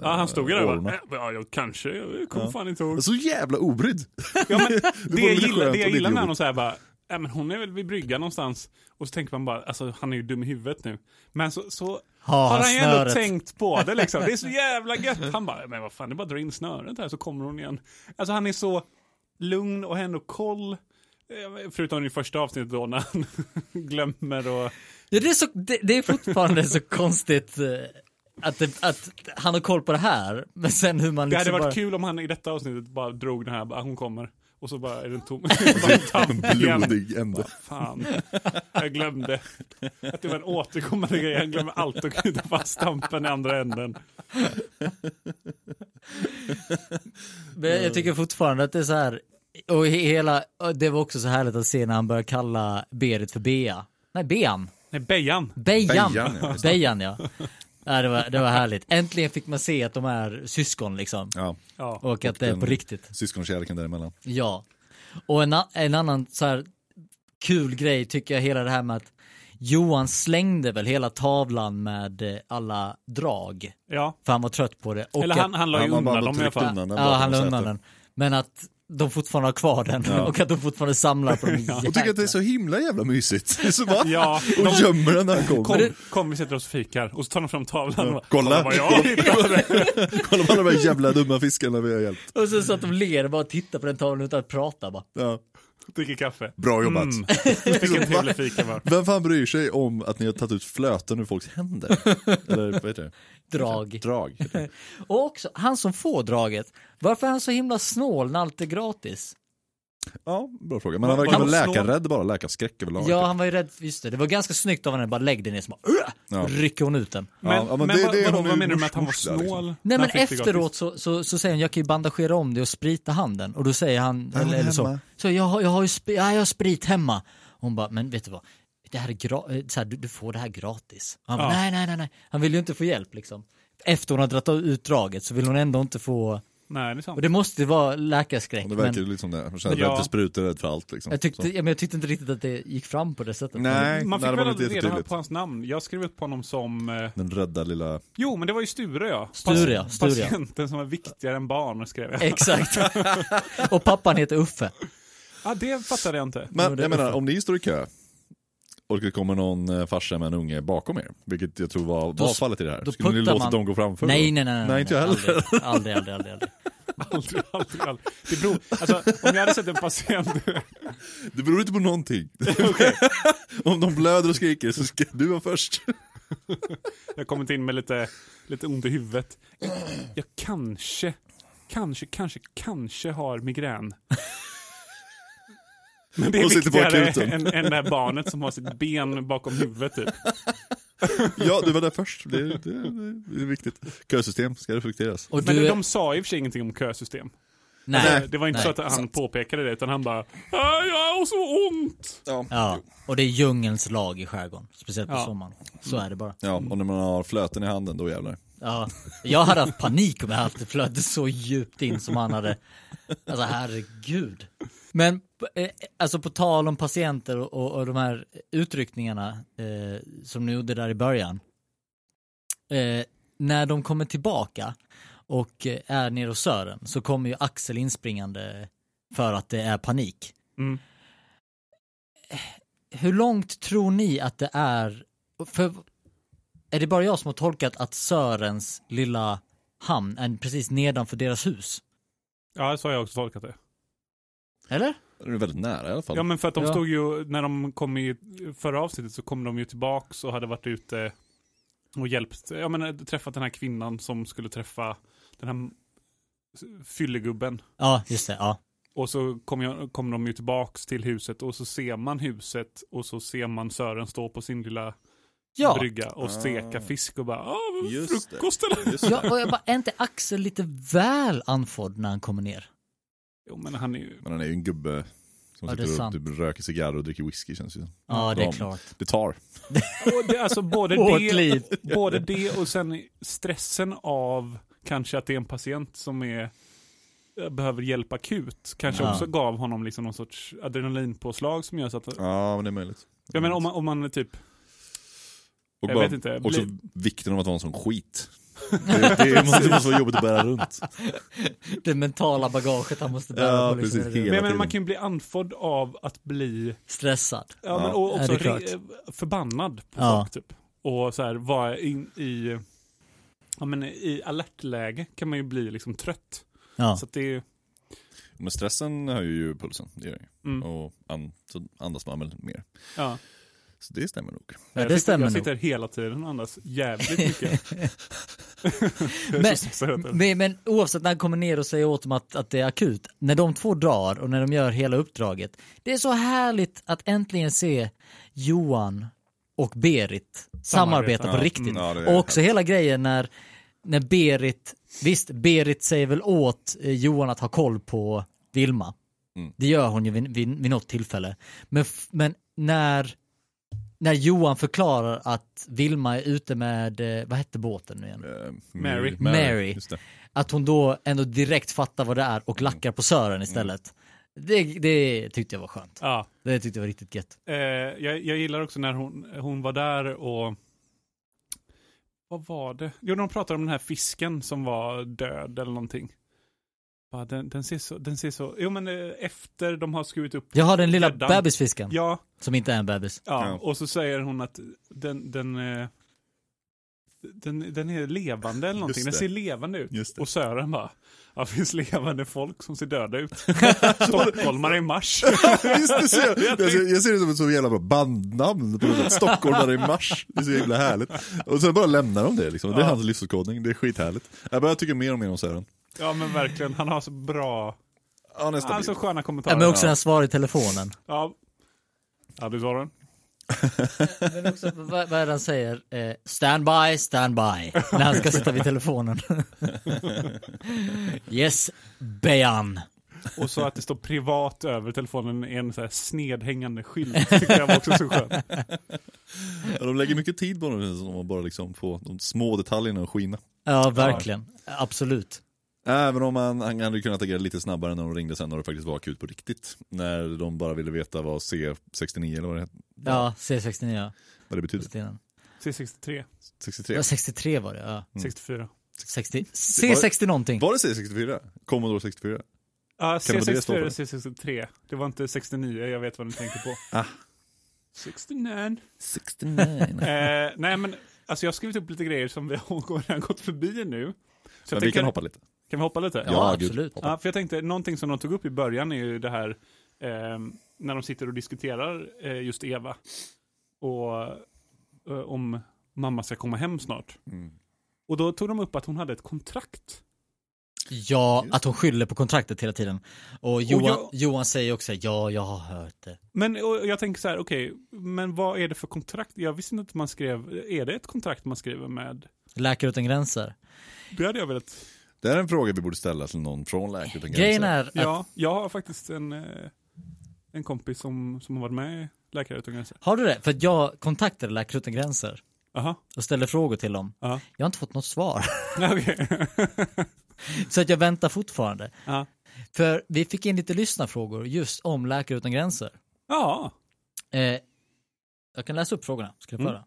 S2: Ja, han stod ju där och
S3: årorna?
S2: bara, "Äh, ja, jag kanske, jag kommer
S3: Ja.
S2: fan inte ihåg.
S3: Så
S2: (laughs)
S3: jävla obrydd!
S2: Ja, men det,
S3: var
S2: jag
S3: lite
S2: gillar,
S3: skönt
S2: det jag
S3: och lite
S2: gillar med honom
S3: jobbigt.
S2: så här bara, äh, men hon är väl vid bryggan någonstans. Och så tänker man bara, alltså han är ju dum i huvudet nu. Men så, så
S1: Har
S2: har
S1: han
S2: han ju ändå
S1: snöret?
S2: tänkt på det liksom. Det är så jävla gött. Han bara, men vad fan, det är bara att dra in snöret här så kommer hon igen. Alltså han är så lugn och har ändå koll. Eh, Förutom i första avsnittet då när han (laughs) glömmer och...
S1: Ja, det, är så, det, det är fortfarande så konstigt eh, att, det, att han har koll på det här, men sen hur man
S2: Det hade
S1: liksom
S2: varit
S1: bara...
S2: kul om han i detta avsnittet bara drog den här, bara, hon kommer. Och så bara är den tom. (laughs) Bara tam igen.
S3: Blodig ände.
S2: Vad fan, jag glömde. Att det var en återkommande grej. Han glömmer alltid att knyta fast stampen i andra änden.
S1: Men
S3: Mm.
S1: jag tycker fortfarande att det är så här, och he- hela, och det var också så härligt att se när han börjar kalla Berit för Bea. Nej, Bean.
S2: Nej, Bejan.
S1: Bejan.
S3: Bejan, ja,
S1: (laughs)
S3: just
S1: Bejan, ja. ja det, var, det var härligt. Äntligen fick man se att de är syskon liksom.
S3: Ja,
S2: Ja.
S1: Och att det är på
S3: den-
S1: riktigt.
S3: syskonkärleken däremellan.
S1: Ja. Och en, a- en annan så här kul grej tycker jag hela det här med att Johan slängde väl hela tavlan med eh, alla drag.
S2: Ja,
S1: För han var trött på det. Och
S2: eller
S1: att-
S2: han, han la ju
S3: Han var bara
S2: undan dem i alla
S3: tryckt
S2: fall.
S3: undan den
S1: Ja,
S3: bakom
S1: han la undan
S3: sätet.
S1: den. Men att de fortfarande har kvar den och att de fortfarande samlar på den.
S3: Och tycker att det är så himla jävla mysigt. (laughs) Så bara,
S2: Ja,
S3: och gömmer den när han kommer.
S2: Kom, kom vi sätter oss och fikar. Och så tar de fram tavlan och bara,
S3: Kolla.
S2: vad jag hittade.
S3: Kolla på alla de här jävla dumma fiskarna vi har hjälpt.
S1: Och sen satt de och ler och bara tittade på den tavlan utan att prata bara.
S3: Ja.
S2: Dricker kaffe.
S3: Bra jobbat.
S2: Mm. Vilken trevlig fika va?
S3: Vem fan bryr sig om att ni har tagit ut flöten ur folks händer? Eller vad heter det?
S1: Drag.
S3: Drag. heter det.
S1: Och också, han som får draget, varför är han så himla snål när allt är gratis?
S3: Ja, bra fråga. Men han verkar
S2: Han
S3: väl
S2: slår-
S3: läkarrädd bara, läkarskräck överlag.
S1: Ja, han var ju rädd, just det, det var ganska snyggt av henne, bara lägg dig ner, så bara, "Ugh!"
S3: Ja.
S1: rycker hon ut den.
S2: Men,
S3: ja,
S2: men
S3: men det-
S2: vad,
S3: det är
S2: vadå,
S3: hon
S2: vad
S3: ju
S2: menar du med att han var
S3: morsk där,
S2: snål?
S3: liksom.
S1: Nej
S2: när
S1: men
S2: han fick det
S1: efteråt
S2: gratis?
S1: så, så, så säger hon, jag kan ju bandagera om det och sprita handen. Och då säger han,
S3: Är hon
S1: eller, eller så,
S3: hemma?
S1: så jag, har- jag har ju sp- ja, jag har sprit hemma. Hon bara, men vet du vad, det här är gra- eh, så här, du, du får det här gratis. Och Han bara,
S2: Ja.
S1: nej, nej, nej, nej. Han vill ju inte få hjälp liksom. Efter hon har dragit ut draget så vill hon ändå inte få,
S2: Nej, det är sant.
S1: och det måste ju vara läkarskräck.
S3: Det verkar
S1: Men
S3: ju liksom lite som det. Han känner
S2: Ja.
S3: rädd för sprutor, rädd för allt liksom.
S1: jag, tyckte,
S3: Så.
S1: ja, men jag tyckte inte riktigt att det gick fram på det sättet.
S3: Nej,
S2: Man
S3: nej,
S2: fick
S3: det
S2: väl
S3: var inte
S2: aldrig reda
S3: jättetydligt.
S2: på hans namn. Jag skrev upp på honom som... Eh,
S3: Den rädda lilla...
S2: jo, men det var ju Sture ja. Pas-
S1: Sture, ja, Sture, ja.
S2: Patienten som var viktigare än barn, skrev
S1: (laughs)
S2: jag.
S3: (laughs)
S1: Exakt. och pappan heter Uffe.
S2: Ja, det fattade jag inte.
S3: Men
S1: Jo, det-
S3: jag menar, om ni står i kö och det kommer någon eh, farsa med en unge bakom er, vilket jag tror var,
S1: Då
S3: var
S1: s-
S3: fallet i det här.
S1: då
S3: Skulle ni
S1: puttar
S3: låta
S1: man-
S3: dem gå framför?
S1: Nej, nej,
S3: då?
S1: nej, nej.
S3: Nej, inte jag heller.
S1: Aldrig, aldrig, aldrig. aldrig,
S3: (laughs)
S1: aldrig.
S2: (laughs) Aldrig, aldrig, aldrig. Det beror, alltså, om jag hade sett en patient...
S3: Det beror inte
S1: (laughs)
S3: på någonting. (laughs) Om de blöder och skriker så ska du vara först.
S1: (laughs)
S2: Jag har kommit in med lite, lite ont i huvudet. Jag kanske, kanske, kanske, kanske har migrän. Men det är
S3: Och sitter på
S2: viktigare
S3: akuten.
S2: än, än det här barnet som har sitt ben bakom huvudet typ.
S3: Ja, du var där först. Det, det, det, är viktigt. Kösystem ska reflekteras.
S1: Och
S2: Men
S1: du,
S2: de sa i och för sig ingenting om kösystem.
S1: nej.
S2: Det var inte
S1: nej.
S2: så att han påpekade det, utan han bara "Ah, Jag har så ont!
S3: Ja.
S1: Ja, och det är djungelns lag i skärgården. Speciellt på
S2: Ja.
S1: sommaren. Så är det bara.
S3: ja, och när man har flöten i handen då jävlar.
S1: Ja. Jag hade haft panik om jag haft det flödet så djupt in som han hade. Alltså herregud. Men eh, alltså på tal om patienter och, och, och de här utryckningarna eh, som ni gjorde där i början. Eh, när de kommer tillbaka och eh, är nere hos Sören så kommer ju Axel inspringande för att det är panik.
S2: Mm.
S1: Hur långt tror ni att det är? För är det bara jag som har tolkat att Sörens lilla hamn är precis nedanför deras hus?
S2: Ja, så har jag också tolkat det.
S1: Eller?
S3: Det är väldigt nära i alla fall.
S2: Ja, men för att de
S1: Ja.
S2: stod ju, när de kom i förra avsnittet så kom de ju tillbaks och hade varit ute och hjälpt, ja men eh, träffat den här kvinnan som skulle träffa den här fyllegubben.
S1: Ja, just det. Ja.
S2: Och så kom, jag, kom de ju tillbaks till huset och så ser man huset och så ser man Sören stå på sin lilla
S1: Ja.
S2: brygga och steka
S3: Ah.
S2: fisk och bara, "Ah,
S3: Just det.
S2: frukost eller?
S3: Just det.
S1: ja och jag bara, är inte Axel lite väl andfådd när han kommer ner?
S2: Jo men han är ju,
S3: Men han är ju en gubbe som
S1: Ja, det är
S3: sitter och
S1: sant.
S3: typ röker cigarr och dricker whisky känns det ju som.
S1: Ja, det är
S3: De-
S1: klart.
S3: Det tar.
S2: Och det,
S1: (laughs)
S2: alltså både
S1: Hårt
S2: det,
S1: liv.
S2: både det och sen stressen av kanske att det är en patient som är behöver hjälp akut. Kanske
S1: Ja.
S2: också gav honom liksom någon sorts adrenalinpåslag som gör så att...
S3: Ja, men det är möjligt.
S2: Ja men om man, om man är typ...
S3: och
S2: jag
S3: bara,
S2: vet inte,
S3: Också
S2: bli-
S3: vikten av att vara en sån skit. Det, (laughs) det, måste, det måste vara jobbigt att bära runt.
S1: Det mentala bagaget han måste bära
S3: Ja,
S1: på liksom,
S3: precis.
S1: är det
S2: Men
S3: Hela
S2: jag menar, man
S3: tiden.
S2: kan ju bli anfådd av att bli...
S1: stressad.
S2: Ja, men,
S3: Ja.
S2: och också
S1: Ja, det är
S2: re, förbannad på
S1: Ja.
S2: folk typ. Och så här, vara in, i... Ja men i alertläge kan man ju bli liksom trött.
S1: Ja.
S2: Så att det är ju...
S3: Men stressen höjer ju pulsen, det gör den ju.
S2: Mm,
S3: Och an, så andas man väl mer.
S2: ja.
S3: Så det stämmer nog.
S1: Ja,
S2: jag
S1: det
S2: sitter,
S1: stämmer
S2: Jag
S1: nog.
S2: sitter hela tiden och andas jävligt mycket.
S1: (laughs)
S2: Jag är
S3: (laughs)
S1: Men-
S2: så stressad hela tiden.
S1: Men, men oavsett när han kommer ner och säger åt dem att, att det är akut, när de två drar och när de gör hela uppdraget, det är så härligt att äntligen se Johan och Berit samarbeta på
S3: Ja,
S1: riktigt.
S3: mm, ja, det är
S1: och också hela grejen när, när Berit, visst Berit säger väl åt eh, Johan att ha koll på Vilma.
S3: Mm.
S1: Det gör hon ju vid, vid, vid något tillfälle. Men, f- men när, när Johan förklarar att Vilma är ute med, eh, vad hette båten nu igen?
S3: Eh,
S2: Mary.
S1: Mary.
S3: Just det.
S1: Mm. Att hon då ändå direkt fattar vad det är och lackar på Sören istället. Det, det tyckte jag var skönt.
S2: Ja.
S1: Det tyckte jag var riktigt gött.
S2: Eh, jag, jag gillar också när hon, hon var där och... Vad var det? Jo, de pratade om den här fisken som var död eller någonting. Bara, den, den, ser så, den ser så... Jo, men eh, efter de har skurit upp...
S1: Jag har den lilla
S2: Gäddan.
S1: bebisfisken,
S2: Ja,
S1: som inte är en bebis.
S2: ja.
S3: Ja.
S2: och så säger hon att den... den eh, den, den är levande eller någonting.
S3: Just
S2: Den
S3: det.
S2: ser levande ut.
S3: Just det. (laughs)
S2: Och Sören bara, ja, finns levande folk som ser döda
S3: (laughs)
S2: ut. Stockholmare i mars.
S3: Visst, det ser jag. Jag, ser, jag ser det som ett så jävla bra bandnamn på något sätt. Stockholmare i mars. Det är så jävla härligt. Och sen bara lämnar de det liksom. Det är
S2: Ja.
S3: hans livsåskådning. Det är skithärligt. Jag börjar tycka mer och mer om Sören.
S2: Ja, men verkligen. Han har så bra...
S3: Ja, nästa
S2: Han har så
S3: bild.
S2: sköna kommentarer.
S1: Ja, men också när han svarar i telefonen.
S2: Ja. Ja, du sa den.
S1: Men också, vad, vad är det han säger? Eh, standby, standby. När han ska sitta vid (laughs) telefonen. yes, Bejan.
S2: Och så att det står privat över telefonen i en så här snedhängande skylt. Tycker jag var också så skönt.
S3: Ja, de lägger mycket tid på dem känns det som, att bara liksom få de små detaljerna att skina.
S1: Ja, verkligen. Absolut.
S3: Även om han, han hade ju kunnat agera lite snabbare när de ringde sen när det faktiskt var akut på riktigt. När de bara ville veta vad C69 eller vad det,
S1: Ja, C69.
S3: vad det betyder.
S1: Stenen.
S2: C63,
S3: 63.
S1: Ja, 63 var det, ja.
S2: 64.
S1: 60, C60 någonting.
S3: Var det C64? Commodore 64?
S2: Ja,
S3: Kan det vara det
S2: C64
S3: det
S2: och C63. Det var inte 69, jag vet vad ni tänker på.
S3: Ah.
S2: 69.
S3: (laughs) 69.
S2: Eh, nej, men alltså jag har skrivit upp lite grejer som vi (laughs) har redan gått förbi nu. Så
S3: Men
S2: jag
S3: vi
S2: tänker,
S3: kan hoppa lite.
S2: kan vi hoppa lite?
S1: Ja,
S3: gud.
S1: absolut.
S3: Hoppa.
S2: Ja, för jag tänkte, någonting som de tog upp i början är ju det här eh, när de sitter och diskuterar eh, just Eva. Och eh, om mamma ska komma hem snart.
S3: Mm.
S2: Och då tog de upp att hon hade ett kontrakt.
S1: Ja, att hon skyller på kontraktet hela tiden. Och Johan,
S2: jag-
S1: Johan säger också, ja, jag har hört det.
S2: Men och jag tänker så här, okej, men vad är det för kontrakt? Jag visste inte att man skrev, är det ett kontrakt man skriver med?
S1: Läkare utan gränser.
S2: Det hade jag velat.
S3: Det här är en fråga vi borde ställa till någon från Läkare utan
S1: Grejen
S3: gränser.
S1: är att,
S2: Ja, jag har faktiskt en, eh, en kompis som, som har varit med i Läkare utan gränser.
S1: har du det? För att jag kontaktade Läkare utan gränser
S2: (laughs) Jaha,
S1: och ställde frågor till dem.
S2: ja.
S1: Jag har inte fått något svar. (laughs)
S2: Okej. (laughs)
S1: Så att jag väntar fortfarande.
S2: Ja.
S1: För vi fick in lite lyssnarfrågor just om Läkare utan gränser.
S2: Ja,
S1: Eh, jag kan läsa upp frågorna, ska du få
S2: Mm.
S1: höra.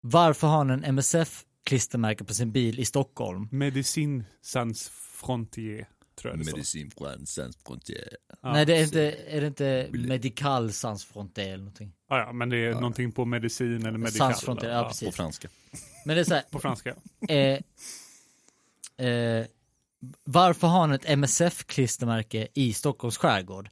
S1: Varför har han en MSF-klistermärke på sin bil i Stockholm?
S2: Medicin sans frontier, tror jag det står.
S3: Medicin från Sans Frontier.
S2: Ja.
S1: Nej, det är, inte, är det inte Medical Sans Frontier eller någonting?
S2: Ja, ja, men det är någonting på medicin eller medikal.
S1: Sans Frontier,
S2: eller-
S1: ja,
S3: På
S1: precis.
S3: franska.
S1: Men det är så här,
S2: På franska.
S1: eh, eh, varför har han ett MSF-klistermärke i Stockholms skärgård?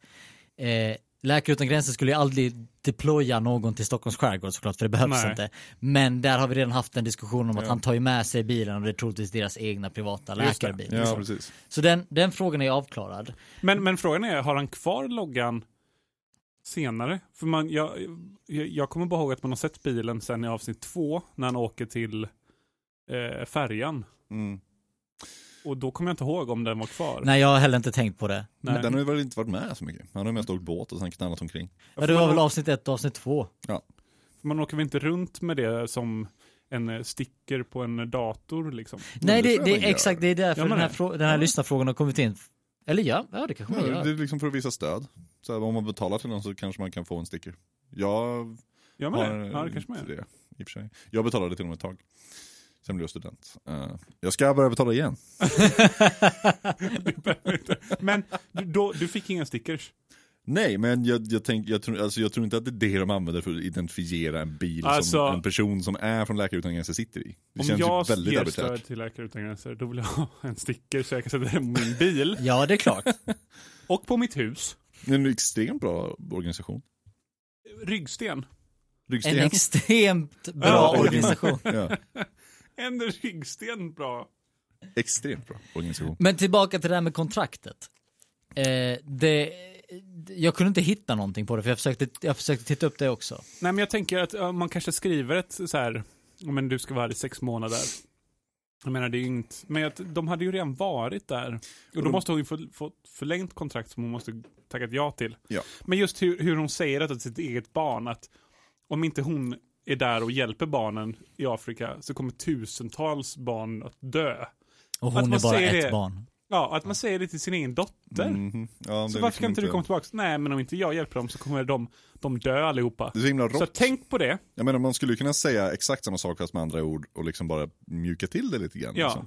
S1: Eh, Läkare utan gränser skulle ju aldrig deploya någon till Stockholms skärgård såklart, för det behövs
S2: Nej.
S1: inte. Men där har vi redan haft en diskussion om att han tar ju med sig bilen och det är troligtvis deras egna privata
S2: Just det.
S1: läkarbil. Liksom.
S3: Ja, precis.
S1: Så den, den frågan är avklarad.
S2: Men, men frågan är, har han kvar loggan senare? För man, jag, jag, jag kommer bara ihåg att man har sett bilen sen i avsnitt två, när han åker till eh, färjan.
S3: Mm.
S2: Och då kommer jag inte ihåg om den var kvar.
S1: Nej, jag har heller inte tänkt på det.
S2: Nej.
S3: Men den har ju väl inte varit med så mycket. Han har ju mest åkt båt och sen knallat omkring.
S1: Ja, det var väl avsnitt ett och avsnitt två.
S2: För man åker väl inte runt med det som en eh, sticker på en dator liksom?
S1: Nej,
S3: det
S1: det,
S3: tror
S1: det är
S3: jag man gör.
S1: exakt, det är därför
S2: Gör man
S1: den här,
S2: det?
S1: frå- den här lyssnarfrågan har kommit in. Eller ja, ja det kanske man
S3: Ja,
S1: gör.
S3: det är liksom för att visa stöd. Så här, om man betalar till någon så kanske man kan få en sticker. Jag
S2: Gör man
S3: har
S2: det? Ja, det kanske man (laughs)
S3: inte
S2: gör.
S3: det, i och för sig. Jag betalade till och med ett tag. Sen blev jag student. Eh, jag ska börja betala igen.
S2: Du behöver inte. Men du, då, du fick inga stickers?
S3: Nej, men jag, jag, tänk, jag, tror, alltså, jag tror inte att det är det de använder för att identifiera en bil
S2: Alltså-
S3: som en person som är från Läkare utan gränser sitter i. Det
S2: Om
S3: känns
S2: jag
S3: ju väldigt
S2: ger stöd
S3: arbiträrt.
S2: till Läkare utan gränser, då vill jag ha en sticker så jag kan sätta den på min bil
S1: Ja, det är klart.
S2: och på mitt hus.
S3: Det är en extremt bra organisation.
S2: Ryggsten.
S1: En
S3: Ryggsten.
S1: extremt bra
S2: Ja,
S1: organisation.
S3: ja,
S2: En ryggsten bra.
S3: extremt bra organisation.
S1: Men tillbaka till det här med kontraktet. Eh, det, jag kunde inte hitta någonting på det, för jag försökte, jag försökte titta upp det också.
S2: Nej men jag tänker att ja, man kanske skriver ett så här, "Ja, men du ska vara här i sex månader. Jag menar det är ju inte, men att de hade ju redan varit där.
S3: Mm.
S2: Och då måste hon ju få, få ett förlängt kontrakt som hon måste tackat ja till.
S3: Ja.
S2: Men just hur, hur hon säger det till sitt eget barn, att om inte hon är där och hjälper barnen i Afrika så kommer tusentals barn att dö.
S1: Och hon
S2: Att man
S1: är bara
S2: säger
S1: ett
S2: det.
S1: barn.
S2: Ja, att man säger det till sin egen dotter.
S3: Mhm. Ja, det
S2: Så
S3: är
S2: varför
S3: liksom
S2: kan inte du komma tillbaka? Nej, men om inte jag hjälper dem så kommer de, de dö allihopa.
S3: Det är så himla
S2: Så
S3: rått.
S2: tänk på det.
S3: Jag menar man skulle ju kunna säga exakt samma sak fast med andra ord och liksom bara mjuka till det lite grann.
S2: Ja.
S3: Liksom.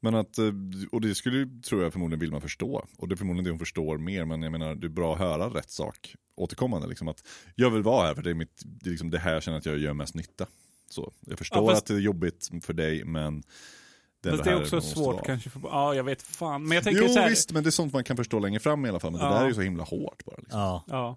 S3: Men att, eh, och det skulle ju, tror jag förmodligen Vilma förstå. Och det är förmodligen det hon förstår mer, men jag menar det är bra att höra rätt sak återkommande. Liksom att jag vill vara här för det är, mitt, det, är liksom det här jag känner att jag gör mest nytta. Så, jag förstår
S2: Ja, fast-
S3: att det är jobbigt för dig men det är
S2: Fast
S3: det
S2: det
S3: här
S2: är också
S3: man måste
S2: svårt
S3: vara.
S2: kanske. För, ja, jag vet fan. Men jag tänker
S3: Jo
S2: så här.
S3: visst, men det är sånt man kan förstå längre fram i alla fall. Men
S2: Ja.
S3: det där är ju så himla hårt bara. Liksom.
S1: Ja.
S2: Ja.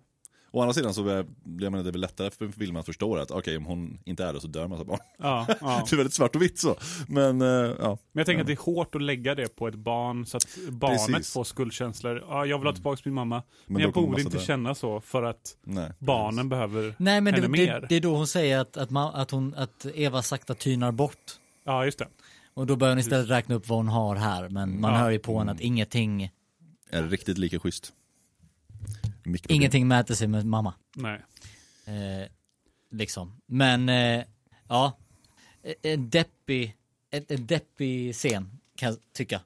S3: Å andra sidan så är, jag menar, det är väl lättare för Vilma att förstå att okej om hon inte är det så dör en massa barn. (laughs)
S2: Ja, ja.
S3: Det är väldigt svart och vitt så. Men eh, ja.
S2: Men jag tänker att det är hårt att lägga det på ett barn så att barnet
S3: Precis. Mm.
S2: får skuldkänslor. Ja, jag vill ha tillbaka min mamma. Men,
S3: då
S2: jag
S3: kommer
S2: borde
S3: massa
S2: inte
S3: där.
S2: känna så för att
S3: Nej.
S2: barnen behöver
S1: Nej men det,
S2: henne mer.
S1: det, det är då hon säger att, att, man, att, hon, att Eva sakta tynar bort.
S2: Ja, just det.
S1: Och då börjar hon istället räkna upp vad hon har här. Men man
S2: Ja.
S1: hör ju på henne att ingenting,
S3: Är riktigt lika schysst. Mikroproblem.
S1: ingenting mäter sig med mamma.
S2: Nej.
S1: Eh, liksom. Men eh, ja, E- en deppig, en, en deppig scen kan jag tycka.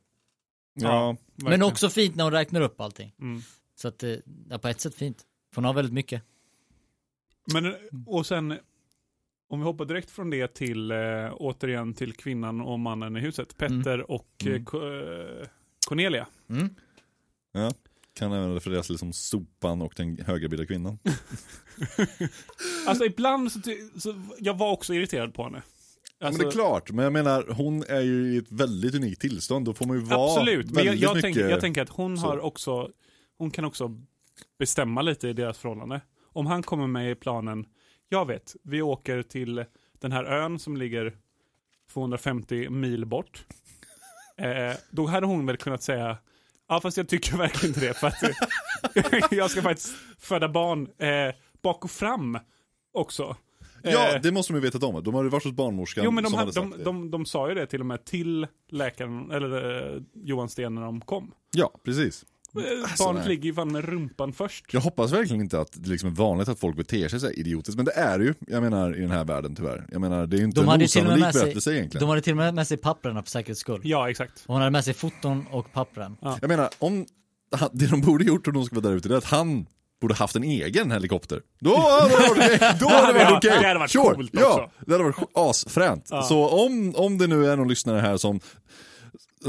S3: Ja,
S1: Men
S2: verkligen.
S1: också fint när hon räknar upp allting.
S2: Mm.
S1: Så att eh, ja, på ett sätt fint. För hon har väldigt mycket.
S2: Men, och sen, om vi hoppar direkt från det till, eh, återigen till kvinnan och mannen i huset. Petter och eh,
S3: Mm.
S2: Co- eh, Cornelia.
S1: Mm.
S3: kan även refereras till som sopan och den högerbildade kvinnan.
S2: Alltså ibland så, ty- så, jag var också irriterad på henne.
S3: men
S2: Alltså,
S3: det är klart, men jag menar hon är ju i ett väldigt unikt tillstånd. Då får man ju vara
S2: absolut, men jag,
S3: väldigt
S2: jag,
S3: mycket.
S2: tänker, jag tänker att hon
S3: så.
S2: har också, hon kan också bestämma lite i deras förhållande. Om han kommer med i planen, jag vet, vi åker till den här ön som ligger 250 mil
S3: (laughs)
S2: bort. Eh, då hade hon väl kunnat säga, ja fast jag tycker verkligen inte det för att eh, (laughs) jag ska faktiskt föda barn eh, bak och fram också.
S3: Ja,
S2: Eh,
S3: det måste man ju veta om. De har ju varit hos barnmorskan
S2: Jo men de,
S3: som
S2: hade,
S3: hade,
S2: de,
S3: sagt det.
S2: de, de sa ju det till och med till läkaren, eller eh, Johan Sten när de kom.
S3: Ja, precis.
S2: Eh,
S3: Alltså,
S2: Barnet
S3: nej.
S2: ligger ju fan med rumpan först.
S3: Jag hoppas verkligen inte att det liksom är vanligt att folk beter sig så här idiotiskt, men det är det ju, jag menar, i den här världen tyvärr. Jag menar, det är ju inte
S1: De
S3: en
S1: hade ju till och med
S3: osannolik
S1: med sig-
S3: berättelse egentligen.
S1: De hade till och med med sig papperna för säkerhets skull.
S2: Ja, exakt.
S1: Och hon hade med sig foton och pappren.
S3: Jag menar, om han- det de borde gjort om de ska vara där ute, det är att han borde haft en egen helikopter. Då hade det
S2: (laughs)
S3: varit okej! Då hade det
S2: Ja,
S3: varit okej!
S2: det hade varit coolt
S3: ja,
S2: också.
S3: Det hade varit asfränt. Så om, om det nu är någon lyssnare här som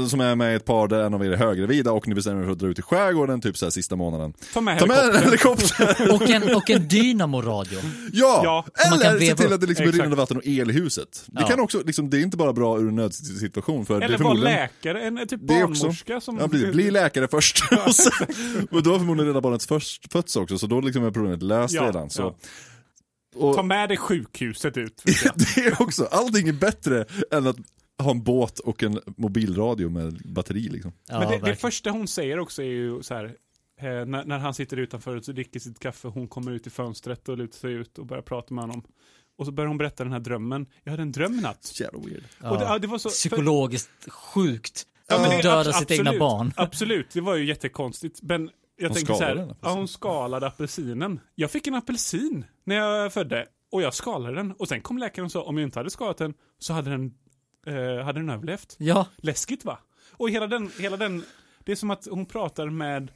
S3: som är med i ett par där en av er är högervida och ni bestämmer er för att dra ut i skärgården typ så här sista månaden.
S2: Ta med
S3: Ta med en
S2: helikoptern. (laughs)
S3: helikopter!
S1: Och en, och en dynamoradio.
S3: ja!
S2: Ja,
S1: så man kan
S3: Eller se
S1: veva
S3: till
S1: upp.
S3: att det liksom är
S2: Exakt.
S3: rinnande vatten och el i huset. Det
S1: Ja.
S3: kan också, liksom, det är inte bara bra ur en nödsituation för det
S2: Eller
S3: är
S2: var
S3: förmodligen...
S2: läkare, en eh, typ
S3: Det är också.
S2: barnmorska som...
S3: Ja, precis. Bli läkare först. och, sen, och då har förmodligen redan barnet först fötts också, så då liksom är problemet löst
S2: Ja,
S3: redan. Så.
S2: ja.
S3: Och
S2: Ta med dig sjukhuset ut. vet jag.
S3: (laughs) det är också, allting är bättre än att ha en båt och en mobilradio med batteri liksom.
S1: Ja,
S2: Men det, det
S1: verkligen.
S2: första hon säger också är ju så här, eh, när, när han sitter utanför och dricker sitt kaffe, hon kommer ut i fönstret och lutar sig ut och börjar prata med honom. Och så börjar hon berätta den här drömmen. Jag hade en dröm i natt.
S3: Jävla weird.
S2: Och det, ja, det var så, för-
S1: Psykologiskt sjukt.
S2: Ja, men det-
S1: att döda
S2: abs-
S1: sitt egna
S2: absolut.
S1: barn.
S2: Absolut, det var ju jättekonstigt. Men jag
S3: Hon
S2: tänker så
S3: skalade
S2: här,
S3: den,
S2: ja, hon skalade apelsinen. Jag fick en apelsin när jag födde och jag skalade den. Och sen kom läkaren och sa om jag inte hade skalat den så hade den, eh, hade den överlevt.
S1: Ja,
S2: Läskigt va? Och hela den, hela den, det är som att hon pratar med,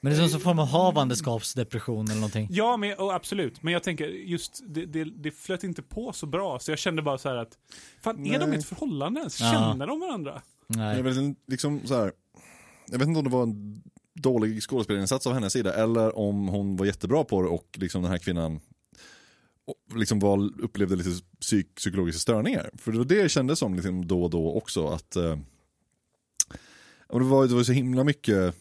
S1: men det är som en form av havandeskapsdepression eller någonting.
S2: ja men, och absolut, men jag tänker just det, det, det flöt inte på så bra så jag kände bara så här att, fan är de i ett förhållande ens?
S1: Ja.
S2: Känner de varandra?
S3: Jag
S1: Nej.
S3: vet, inte, liksom, så här, jag vet inte om det var en dålig skådespelarinsats av hennes sida eller om hon var jättebra på det och liksom den här kvinnan och liksom var, upplevde lite psyk, psykologiska störningar. För det var det jag kände som liksom då och då också att eh, ja, men det, var, det var så himla mycket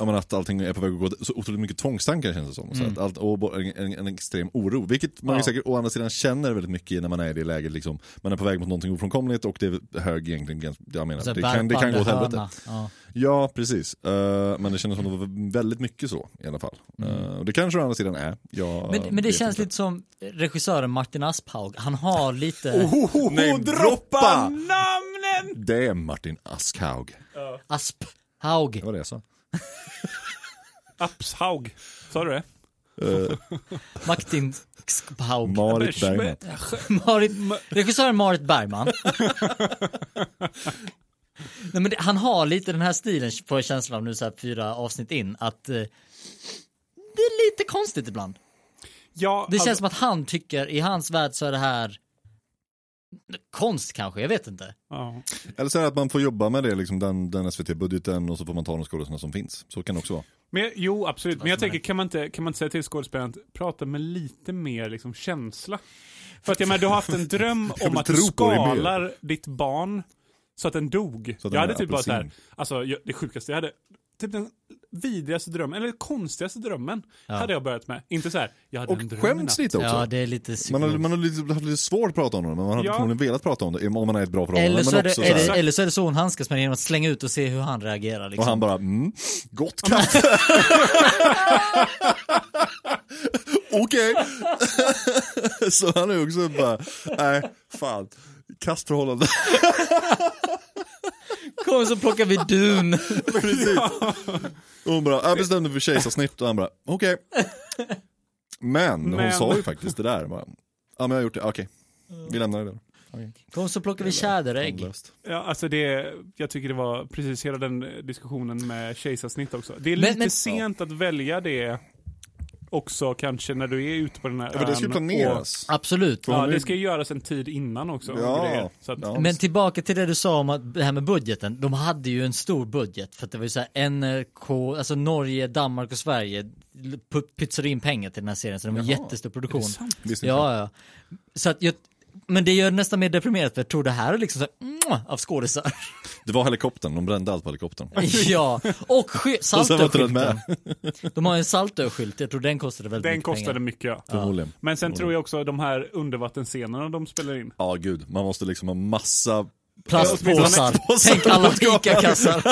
S3: jag menar, att allting är på väg att gå, så otroligt mycket tvångstankar känns det som. Så
S1: Mm.
S3: att allt, och bo- en, en, en extrem oro, vilket man
S2: Ja.
S3: ju säkert å andra sidan känner väldigt mycket när man är i det läget. Liksom, man är på väg mot någonting ofrånkomligt och det är hög egentligen, ganska- jag menar,
S1: Så
S3: det, kan, det kan gå åt
S1: värpande
S3: helvete.
S1: höna. Ja.
S3: Ja, precis. Eh, men det kändes som det var väldigt mycket så i alla fall. Eh, och det kanske å andra sidan är. Jag
S1: Mm. Men, men det
S3: vet
S1: känns
S3: inte.
S1: lite som regissören Martin Asphaug, han har lite
S3: Oh.
S2: Ohoho,
S3: name
S2: droppa
S3: droppa!
S2: namnen!
S3: Det är Martin Askhaug.
S1: Asphaug.
S3: Det var det jag sa.
S2: Apshaug. Sa du det?
S3: Eh,
S1: Martin Asphaug.
S3: Marit Bergman.
S1: Marit, regissören Marit Bergman. Nej, men det, han har lite den här stilen, får jag känslan av nu så här fyra avsnitt in, att eh, det är lite konstigt ibland.
S2: Ja,
S1: Det
S2: alltså-
S1: känns som att han tycker, i hans värld så är det här konst kanske, jag vet inte.
S2: ja.
S3: Eller så är det att man får jobba med det, liksom den, den SVT-budgeten och så får man ta de skådespelarna som finns. Så kan det också vara.
S2: Men, jo, absolut. Men
S1: Vad
S2: jag
S1: som
S2: tänker,
S1: är-
S2: kan man, inte, kan man inte säga till skådespelaren att prata med lite mer liksom, känsla? För att jag menar, du har haft en
S3: (laughs)
S2: dröm
S3: vill
S2: om att du
S3: tro på dig mer.
S2: skalar ditt barn så att den dog.
S3: Så att den
S2: jag hade
S3: är
S2: typ bara så här,
S3: apelsin.
S2: alltså jag, det sjukaste, jag hade typ den vidrigaste drömmen, eller konstigaste drömmen, hade jag börjat med. Inte så här, jag hade en
S3: Och
S2: dröm i
S3: skäms
S2: natt.
S3: lite också.
S1: Ja, det är lite
S3: man har,
S1: psykologiskt.
S3: man har lite, haft lite svårt att prata om det, men man har
S2: Ja.
S3: förmodligen velat prata om det om man är i ett bra förhållande.
S1: Eller så, är
S3: men
S1: det,
S3: också
S1: är
S3: så här-
S1: det, eller så är det så hon handskas med det, genom att slänga ut och se hur han reagerar.
S3: Och
S1: Liksom.
S3: han bara, mm, gott kaffe.
S1: (laughs)
S3: Okej. (laughs) så han är också bara, nej, fan, kastförhållande.
S1: Kom så plockar vi dun.
S3: Precis. Och hon bara, jag bestämde för kejsarsnitt och han bara, okej. Men, hon
S2: Men.
S3: sa ju faktiskt det där. Bara, ja men jag har gjort det, okej. Vi lämnar det där.
S1: Kom så plockar vi tjäderägg.
S3: Handlöst.
S2: Ja, alltså det, jag tycker det var precis hela den eh, diskussionen med kejsarsnitt också. Det är
S1: Men-
S2: lite
S1: men-
S2: sent att välja det också kanske när du är ute på den här
S3: Ja, för det ska ju
S2: ön och-
S3: planeras.
S1: Absolut.
S2: Ja,
S3: hon är-
S2: det ska ju göras en tid innan också. och
S3: Ja,
S2: grejer. så att,
S3: ja.
S1: Men tillbaka till det du sa om att det här med budgeten. De hade ju en stor budget för att det var ju så här NRK, alltså Norge, Danmark och Sverige l- pu- pytsade in pengar till den här serien så det var en
S3: Jaha,
S1: jättestor produktion.
S3: Visst inte.
S1: Ja, ja. Så att jag, men det gör det nästan mer deprimerat för jag tror det här är liksom så här, "Mwah", av
S3: (laughs)
S1: skådisar.
S3: Det var helikoptern, de brände allt på helikoptern.
S1: ja, och sky-
S3: (laughs) Och sen var inte den
S1: Saltö-skylten.
S3: med.
S1: De har ju en Saltö-skylt, jag tror den kostade väldigt
S2: Den
S1: mycket
S2: kostade
S1: pengar.
S2: mycket. Ja.
S3: Förmodligen.
S2: Men sen tror jag också de här undervattensscenerna de spelar in.
S3: Ja gud, man måste liksom ha massa
S1: Plastpåsar,
S3: Plastpåsar.
S1: tänk alla ICA-kassar.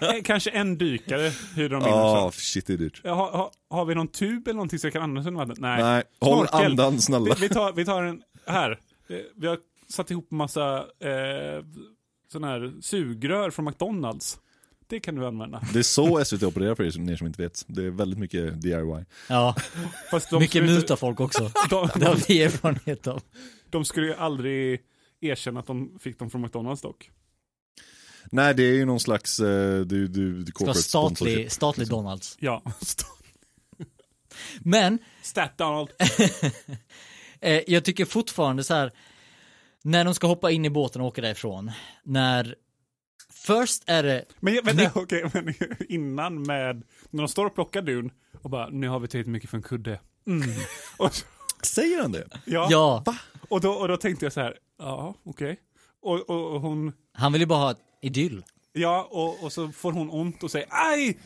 S2: Eh, Kanske en dykare hyrde de in
S3: Ja,
S2: också.
S3: shit det är dyrt.
S2: Ja, ha, ha, har vi någon tub eller någonting så jag kan andas under vattnet? Nej.
S3: Nej, håll
S2: Snorkel.
S3: andan snälla.
S2: Vi, vi, tar, vi tar en, här. Eh, Vi har satt ihop massa eh, sån här sugrör från McDonalds. Det kan du använda.
S3: Det är så SVT opererar för er som, ni som inte vet. Det är väldigt mycket DIY.
S1: Ja,
S2: Fast de
S1: mycket
S2: skulle inte-
S1: mutar folk också.
S2: De,
S1: Det har
S2: de,
S1: vi erfarenhet av.
S2: de skulle ju aldrig erkänna att de fick dem från McDonalds dock.
S3: Nej, det är ju någon slags eh, du, du,
S1: Det var
S3: corporate sponsorship.
S1: statlig, statlig Donalds.
S2: Ja.
S1: Men
S2: Stat Donald.
S1: eh, jag tycker fortfarande så här, när de ska hoppa in i båten och åka därifrån, när först är det,
S2: Men jag, (laughs) vänta, okej, men innan med, när de står och plockar dun och bara, nu har vi tillräckligt mycket för en kudde. Mm. (laughs) Och, så-
S3: Säger han det?
S2: ja,
S1: ja,
S2: Och, då, och då tänkte jag så här, ja, okej. Och, och, och hon,
S1: han vill ju bara ha ett idyll.
S2: ja, och, och så får hon ont och säger, aj!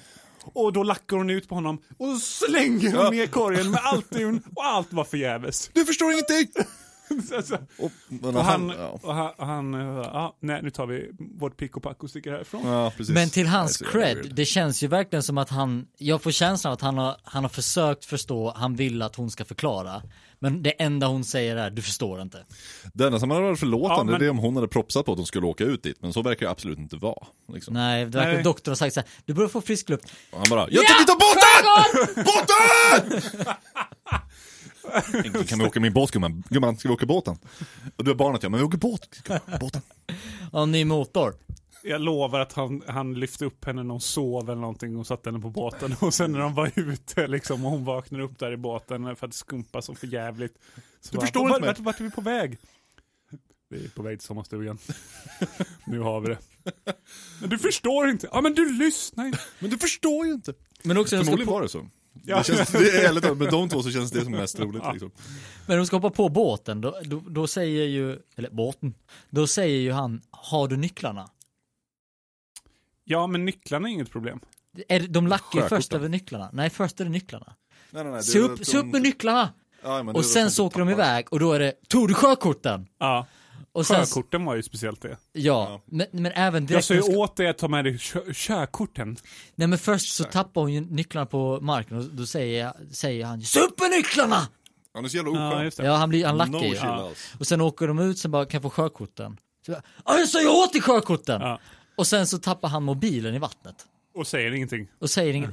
S2: Och då lackar hon ut på honom och slänger hon ner korgen med allt dun och allt var förgäves. (laughs)
S3: Du förstår ingenting!
S2: Så, så.
S3: (laughs) Och, men
S2: Och han,
S3: han, ja.
S2: och han, och han, eh, ja, nej, nu tar vi vårt pick och pack och sticker härifrån.
S3: Ja, precis.
S1: Men till hans
S3: Det är så jävla
S1: cred,
S3: weird.
S1: det känns ju verkligen som att han, jag får känslan av att han har, han har försökt förstå, han vill att hon ska förklara. Men det enda hon säger är, du förstår inte.
S3: Det enda som hade varit förlåtande
S2: Ja, men-
S3: det är om hon hade propsat på att hon skulle åka ut dit. Men så verkar det absolut inte vara. Liksom.
S1: Nej, det verkar
S2: Nej.
S1: doktorn ha sagt så här, du borde få frisk luft.
S3: Och han bara, jag tänker ta
S1: (laughs)
S3: båten! Båten!
S1: (laughs)
S3: Tänk, kan vi åka min båt gumman? Gumman, ska vi åka båten? Och du är barnet ja, men vi åker båt. gumman, Båten.
S1: Ja, ny motor.
S2: Jag lovar att han, han lyfte upp henne när hon sov eller någonting och satte henne på båten. (laughs) Och sen när de var ute liksom och hon vaknade upp där i båten för att skumpa så för jävligt. Så du
S3: förstår
S2: vart,
S3: inte mig."
S2: vart, vart är vi på väg? Vi är på väg till sommarstugan. (laughs) nu har vi det. Men du förstår inte. Ja men du lyssnar inte.
S3: Men du förstår ju inte.
S1: Men också när de ska
S3: Förmodligen
S1: på,
S3: var det så.
S2: Ja.
S3: Det, känns, det är ärligt talat, med de två så känns det som mest roligt. Liksom.
S1: när de ska hoppa på båten, då, då, då säger ju, eller båten, då säger ju han, har du nycklarna?
S2: Ja men nycklarna är inget problem.
S1: Är, det- de lackar ju
S3: Sjökorten.
S1: först över nycklarna. Nej, först är det nycklarna.
S3: Nej, nej, nej,
S1: Se upp, se upp med nycklarna! Och sen så åker de iväg och då är det, tog du sjökorten?
S2: Ja,
S1: Och sen,
S2: sjökorten var ju speciellt det.
S1: ja, men, men även
S2: Jag
S1: direkt
S2: sa
S1: när
S2: ju
S1: de ska-
S2: åt dig att ta med dig kö- körkorten.
S1: Nej men först så tappar hon ju nycklarna på marken och då säger, jag- säger han Supernycklarna!
S3: Han är så jävla
S2: Ja, alltså.
S3: oskön.
S2: just det.
S1: Ja han, blir, han lackar
S3: no
S1: ju.
S3: chill
S1: Ja.
S3: alls.
S1: Och sen åker de ut sen bara kan jag få sjökorten. Så jag, "Ja, jag sa ju åt dig sjökorten!
S2: Ja.
S1: Och sen så tappar han mobilen i vattnet.
S2: Och säger ingenting.
S1: Och säger inget.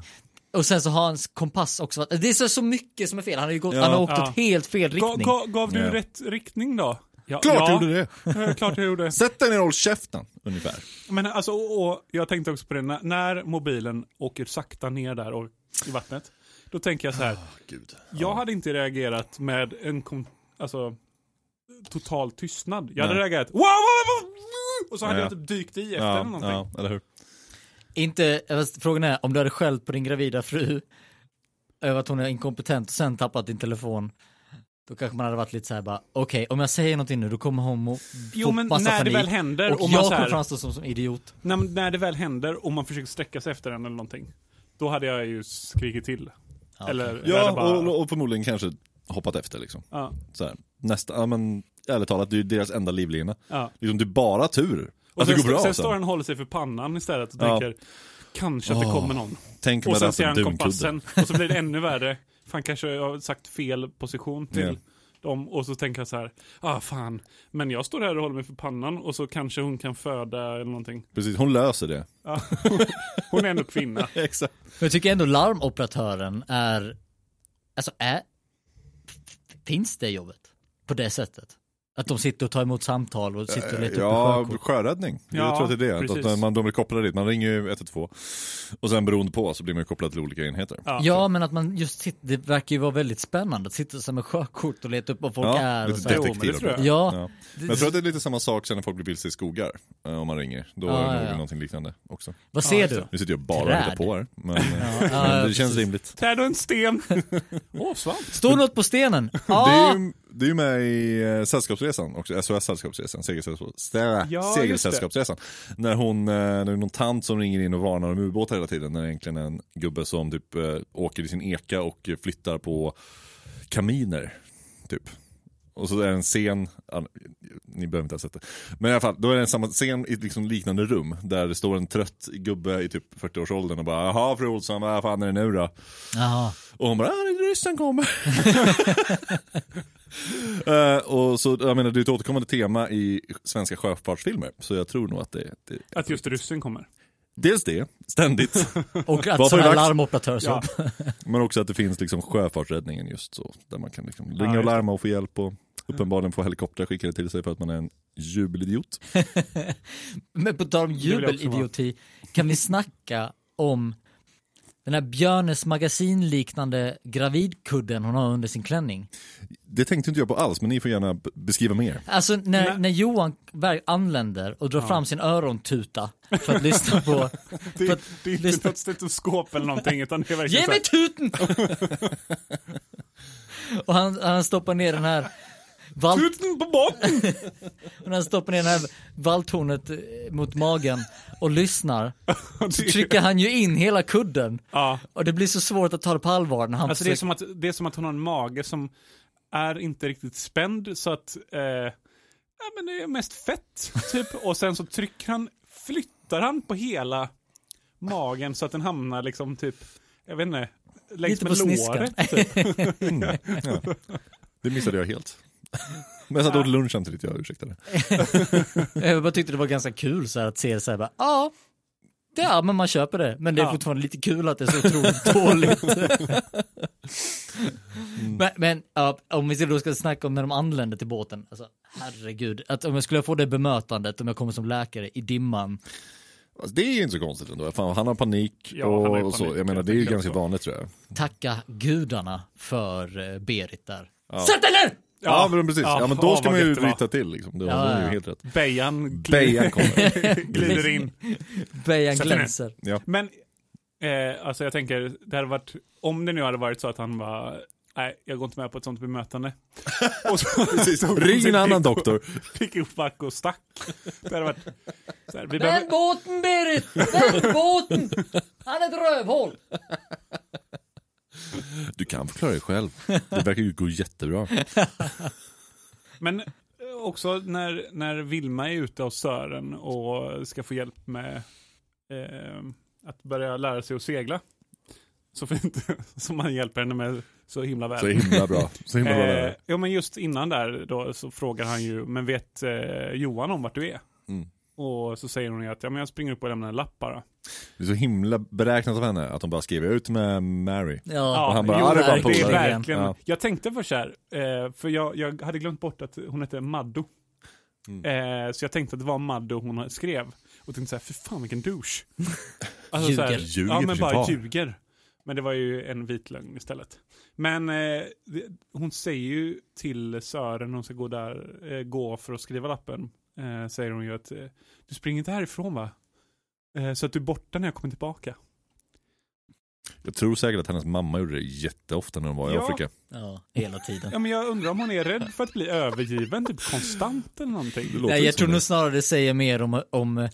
S1: Och sen så har hans kompass också varit- Det är så, så mycket som är fel. Han har ju gått, han har åkt
S2: Ja.
S1: åt helt fel
S2: Ga,
S1: riktning.
S2: ga, gav du
S3: Ja.
S2: rätt riktning då? Ja,
S3: Klart
S2: ja,
S3: du gjorde det!
S2: ja, Eh, klart jag gjorde.
S3: Sätt dig ner och håll käften, ungefär.
S2: Men alltså, och, och, jag tänkte också på det, när, när mobilen åker sakta ner där och, i vattnet, då tänker jag så
S3: Ah,
S2: här,
S3: Gud.
S2: jag hade inte reagerat med en kom, alltså, total tystnad. Jag hade
S3: Nej.
S2: reagerat, wow, wow, wow, wow", och så hade
S3: Ja.
S2: jag typ dykt i efter eller
S3: Ja,
S2: någonting.
S3: ja, eller hur?
S1: Inte, fast frågan är om du hade skällt på din gravida fru över att hon är inkompetent och sen tappat din telefon. Då kanske man hade varit lite så här bara, okej om jag säger någonting nu då kommer hon och
S2: Jo men när det väl händer och,
S1: och,
S2: man
S1: jag
S2: så här,
S1: kommer framstå som, som idiot.
S2: när, när det väl händer och man försöker sträcka sig efter den eller någonting, då hade jag ju skrikit till.
S1: Ja,
S2: eller
S1: okej.
S2: jag hade
S3: Ja,
S2: bara,
S3: och, och förmodligen kanske hoppat efter liksom.
S2: ja,
S3: Så här. Nästa, ja men ärligt talat, det är ju deras enda livlina.
S2: ja.
S3: Liksom, det är bara tur
S2: Och
S3: att
S2: sen,
S3: det går bra.
S2: sen
S3: Sen
S2: står han och håller sig för pannan istället och
S3: Ja.
S2: tänker, kanske att det
S3: Åh.
S2: kommer någon.
S3: Tänk om
S2: Och
S3: jag hade
S2: sen
S3: haft
S2: ser
S3: en
S2: han
S3: dunkudde.
S2: kompassen och så blir det ännu värre. Fan kanske jag har sagt fel position till
S3: Ja.
S2: dem och så tänker jag så här, ah fan, men jag står här och håller mig för pannan och så kanske hon kan föda eller någonting.
S3: Precis, hon löser det.
S2: Ja. Hon är ändå (laughs) kvinna.
S3: Exakt.
S1: Men jag tycker ändå larmoperatören är, alltså är, f- finns det jobbet på det sättet? Att de sitter och tar emot samtal och sitter och letar
S3: Ja,
S1: upp sjökort.
S3: sjöräddning. jag
S2: Ja,
S3: tror att det är det.
S2: precis.
S3: Att man, de blir kopplade dit. Man ringer ju 112. Och sen beroende på så blir man kopplad till olika enheter.
S2: Ja.
S1: Ja, men att man just sitter, det verkar ju vara väldigt spännande att sitta så här med sjökort och leta upp vad folk
S3: Ja,
S1: är. Och
S3: lite
S1: så här.
S2: det- Jo, men
S3: detektiv.
S2: tror jag.
S1: Ja,
S3: Ja. Men jag tror att det är lite samma sak sen när folk blir vilse i skogar. eh, Om man ringer. Då
S1: Ja,
S3: är det
S1: ja,
S3: nog
S1: ja.
S3: någonting liknande också.
S1: vad
S2: Ja,
S1: ser
S2: just
S1: du?
S2: det.
S3: Nu sitter jag bara
S1: Träd.
S3: och hittar på här. Men, eh,
S1: (laughs) ja,
S3: (laughs) men det
S1: precis.
S3: känns rimligt.
S2: Träd och en sten. (laughs) Åh, svamp.
S1: Står något på (laughs) stenen?
S3: Det är,
S1: Ja!
S3: ju, det är ju med i eh, Sällskapsresan också, SOS Sällskapsresan, Segersällskapsresan.
S2: Ja,
S3: Segersällskapsresan. När hon, eh, när det är någon tant som ringer in och varnar om ubåtar hela tiden. När det egentligen är en gubbe som typ eh, åker i sin eka och eh, flyttar på kaminer. Typ. Och så är det en scen, ja, ni behöver inte ha sett det. Men i alla fall, då är det en samma scen i ett liksom liknande rum. Där det står en trött gubbe i typ 40-årsåldern och bara Jaha fru Olsson, vad fan är det nu då?
S1: Jaha.
S3: Och hon bara, ah, ryssen kommer. (laughs) Eh, och så, jag menar, det är ett återkommande tema i svenska sjöfartsfilmer. Så jag tror nog att det, det
S2: Att just ryssen kommer.
S3: dels det, ständigt.
S2: (laughs)
S1: Och
S3: är
S1: att sådana här
S3: det dags?
S1: larmoperatörsjobb.
S3: men också att det finns liksom sjöfartsräddningen just så. Där man kan liksom
S2: Ja,
S3: ringa och
S2: just det.
S3: larma och få hjälp. Och uppenbarligen få helikoptrar skickade till sig för att man är en jubelidiot.
S1: Men på tal om
S2: vill jag också
S1: jubelidioti, kan vi snacka om den här Björnes magasinliknande gravidkudden hon har under sin klänning?
S3: Det tänkte inte jag på alls, men ni får gärna b- beskriva mer.
S1: Alltså när,
S2: Nej.
S1: när Johan väl anländer och drar fram sin örontuta för att lyssna på,
S2: Det,
S1: för att
S2: det är inte
S1: lyssna-
S2: något stetoskop eller någonting utan det är verkligen
S1: Ge
S2: så
S1: mig
S2: här,
S1: tuten! och han, han stoppar ner den här valt,
S2: Tuten på botten!
S1: och han stoppar ner den här valthornet eh, mot magen och lyssnar. Så trycker han ju in hela kudden.
S2: Ja.
S1: Och det blir så svårt att ta det på allvar när han
S2: Alltså det är,
S1: försöker...
S2: som att, det är som att hon har en mage som är inte riktigt spänd så att, eh, ja men det är mest fett
S3: (laughs)
S2: typ. Och sen så trycker han, flyttar han på hela magen så att den hamnar liksom typ, jag vet inte, längs
S1: Lite
S2: med
S1: på sniskan.
S2: låret. Typ.
S3: Mm. Ja. Det missade jag helt. Men jag satt och åt lunch samtidigt, jag ursäktar det.
S1: Jag bara tyckte det var ganska kul så här att se det så här bara, ja, det- ja men man köper det. Men det är
S2: Ja.
S1: fortfarande lite kul att det är så otroligt (laughs) dåligt.
S2: Mm.
S1: Men, men ja, om vi då ska snacka om när de anländer till båten, alltså herregud, att om jag skulle få det bemötandet om jag kommer som läkare i dimman.
S3: Alltså, det är ju inte så konstigt ändå. Fan, han har panik
S2: Ja,
S3: och,
S2: han har ju
S3: och så.
S2: panik,
S3: Jag menar
S2: jag
S3: det är ju
S2: tänker
S3: ganska
S2: också.
S3: vanligt tror jag.
S1: Tacka gudarna för eh, Berit där. Sätt dig ner!
S3: Ja, men precis. Ja, men då
S2: åh,
S3: ska
S2: vad
S3: man ju
S2: gött det var.
S3: ryta till liksom. Det
S1: Ja,
S3: har
S1: ja,
S3: ju
S1: ja.
S3: helt rätt.
S2: Bejan (laughs)
S3: Bejan kommer.
S2: glider in.
S1: Bejan
S2: Sätt dig ner.
S1: glänser.
S3: Ja.
S2: Men, eh, alltså jag tänker, det hade varit, om det nu hade varit så att han var nej, jag går inte med på ett sånt bemötande. (laughs)
S3: (laughs)
S2: Och så, så-
S3: Ring en
S2: så-
S3: annan doktor.
S2: Fick upp back och stack. Det hade varit, så här, vi
S1: Vänd
S2: behöver,
S1: båten Berit! Vänd båten! Han är ett rövhål!
S3: Du kan förklara dig själv. Det verkar ju gå jättebra.
S2: men eh, också när, när Vilma är ute hos Sören och ska få hjälp med eh, att börja lära sig att segla. (laughs) Så fint som man hjälper henne med så himla väl.
S3: Så himla bra. Så himla bra
S2: Eh,
S3: lärare.
S2: ja, men just innan där då så frågar han ju, men vet eh, Johan om vart du är?
S3: Mm.
S2: Och så säger hon ju att ja, men jag springer upp och lämnar en lapp bara.
S3: Det är så himla beräknat av henne att de bara skriver ut med Mary.
S1: Ja,
S3: han bara, "Ah, det är bara en
S2: det är
S3: polare."
S2: verkligen.
S3: Ja.
S2: Jag tänkte först så här, eh, för jag, jag hade glömt bort att hon hette Maddo. Eh, så jag tänkte att det var Maddo hon skrev. Och tänkte så här, för fan vilken
S3: (laughs)
S2: douche. Alltså så här,
S1: Ljuger.
S3: Ljuger
S2: Ja,
S3: för
S2: men
S3: sin
S2: bara
S3: far.
S2: ljuger. Men det var ju en vit lögn istället. Men eh, det, hon säger ju till Sören, när hon ska gå där, eh, gå för att skriva lappen, eh, säger hon ju att eh, du springer inte härifrån va? Eh, så att du är borta när jag kommer tillbaka.
S3: Jag tror säkert att hennes mamma gjorde det jätteofta när hon var i
S2: Ja. (laughs)
S3: Afrika.
S1: ja, hela tiden.
S2: Ja, men jag undrar om hon är rädd för att bli övergiven, typ konstant eller någonting.
S3: Det låter
S1: Nej,
S3: ju
S1: jag
S3: som
S1: tror
S3: det.
S1: nog snarare det säger mer om, om eh,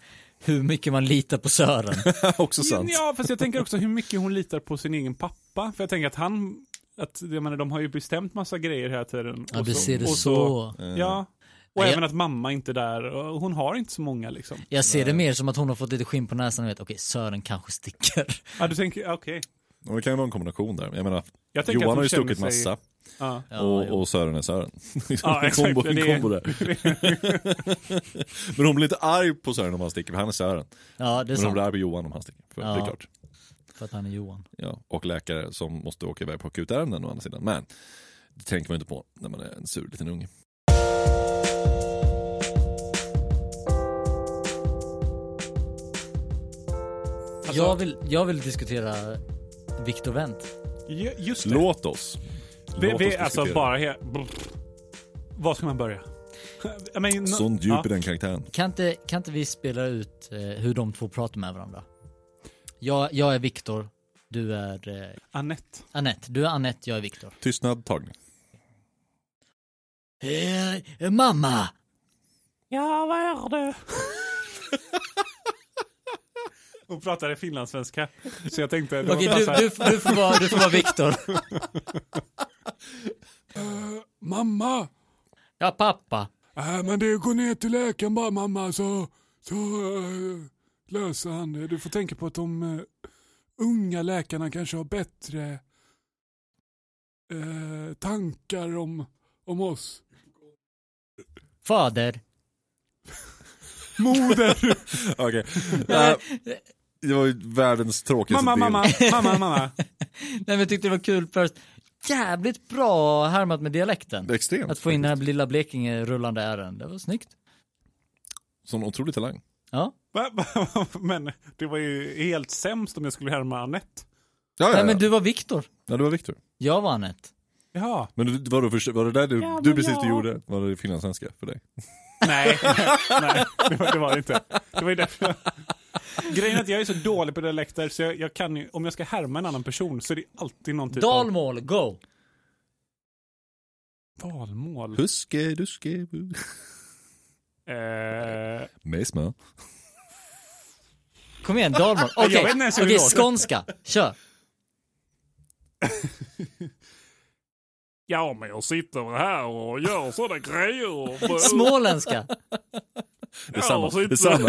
S1: hur mycket man litar på Sören.
S3: Också sant.
S2: Ja, fast jag tänker också hur mycket hon litar på sin egen pappa. För jag tänker att han, att, jag menar, de har ju bestämt massa grejer hela tiden.
S1: Ja,
S2: Och
S1: du
S2: så-
S1: ser det
S2: och
S1: så.
S3: Eh,
S2: Ja. Och
S1: Nej,
S2: även att mamma inte är där. Och Hon har inte så många liksom.
S1: Jag ser det mer som att hon har fått lite skinn på näsan och vet, okej, Sören kanske sticker.
S2: Ja, du tänker, ja, okej.
S3: Och det kan ju vara en kombination där. Jag menar,
S2: Jag tänker att
S3: Johan har
S2: hon
S3: ju stuckit
S2: känner sig-
S3: massa
S2: Ja.
S1: Ja,
S3: och,
S1: jo.
S3: och Sören är Sören.
S2: Ja,
S3: en
S2: exakt,
S3: (laughs) kombo, en
S2: det är-
S3: kombo där. Men hon blir inte arg på Sören om han sticker, för han är Sören.
S1: ja det är
S3: Men hon
S1: sant.
S3: blir arg på Johan om han sticker, för det
S1: Ja.
S3: är klart.
S1: För att han är Johan.
S3: Ja, och läkare som måste åka iväg på akutärenden å andra sidan. Men det tänker man ju inte på när man är en sur liten unge.
S2: Alltså-
S1: Jag vill, jag vill diskutera Viktor Wendt.
S2: Ju- Just det.
S3: Låt oss.
S2: vi,
S3: Låt
S2: vi,
S3: oss
S2: alltså
S3: diskutera.
S2: bara helt... Var ska man börja? I mean,
S3: Sånt djup
S2: ja.
S3: i den karaktären.
S1: Kan inte, kan inte vi spela ut eh, hur de två pratar med varandra? Jag, jag är Viktor, du är eh,
S2: Anette.
S1: Annette. Du är Annette, jag är Viktor.
S3: Tystnad, tagning.
S1: Eh, mamma!
S2: Ja, vad är det? (laughs) Hon pratade finlandssvenska. Så jag tänkte... Alltså- det var
S1: Okej,
S2: bara
S1: du,
S2: så här,
S1: du, du får vara, du får vara
S3: (laughs)
S1: Viktor.
S3: Eh,
S4: Mamma!
S1: Ja, pappa.
S4: Äh, men det går ner till läkaren bara mamma så, så eh, löser han det. Du får tänka på att de eh, unga läkarna kanske har bättre eh, tankar om, om oss.
S1: Fader. (laughs)
S2: Moder!
S3: Okej. (laughs) Eh, Det var ju världens tråkigaste
S2: mamma,
S3: bild.
S2: mamma, mamma, mamma.
S1: Nej, men jag tyckte det var kul först. Jävligt bra härmat med dialekten.
S3: Extremt.
S1: Att få in den här lilla Blekinge-rullande ären. Det var snyggt.
S3: Sån otrolig talang.
S1: Ja.
S2: Va- va- (laughs) Men det var ju helt sämst om jag skulle härma Anette.
S3: Ja, ja,
S1: Nej, men
S3: ja.
S1: du var Viktor.
S3: ja det var Viktor.
S1: Jag var Anette.
S2: Ja.
S3: Men du, var, du, var det där du,
S2: Ja,
S3: du
S2: men
S3: precis
S2: ja.
S3: du gjorde, var det finlandssvenska för dig?
S2: Nej, (laughs) nej det, var, det var det inte. Det var ju därför jag... Grejen är att jag är så dålig på dialekter så jag, jag kan ju, om jag ska härma en annan person så är det alltid någon typ av
S1: Dalmål, go!
S2: dalmål.
S3: Huske, duske, bu.
S2: Eh,
S3: med smör.
S1: Kom igen, dalmål.
S2: Jag
S1: Okej,
S2: vet inte ens hur det
S1: Okej,
S2: låter.
S1: skånska. Kör.
S2: ja, men jag sitter här och gör sådana grejer.
S1: Småländska.
S3: Det är samma.
S2: och så
S3: Det
S2: inte- (laughs)
S3: är samma.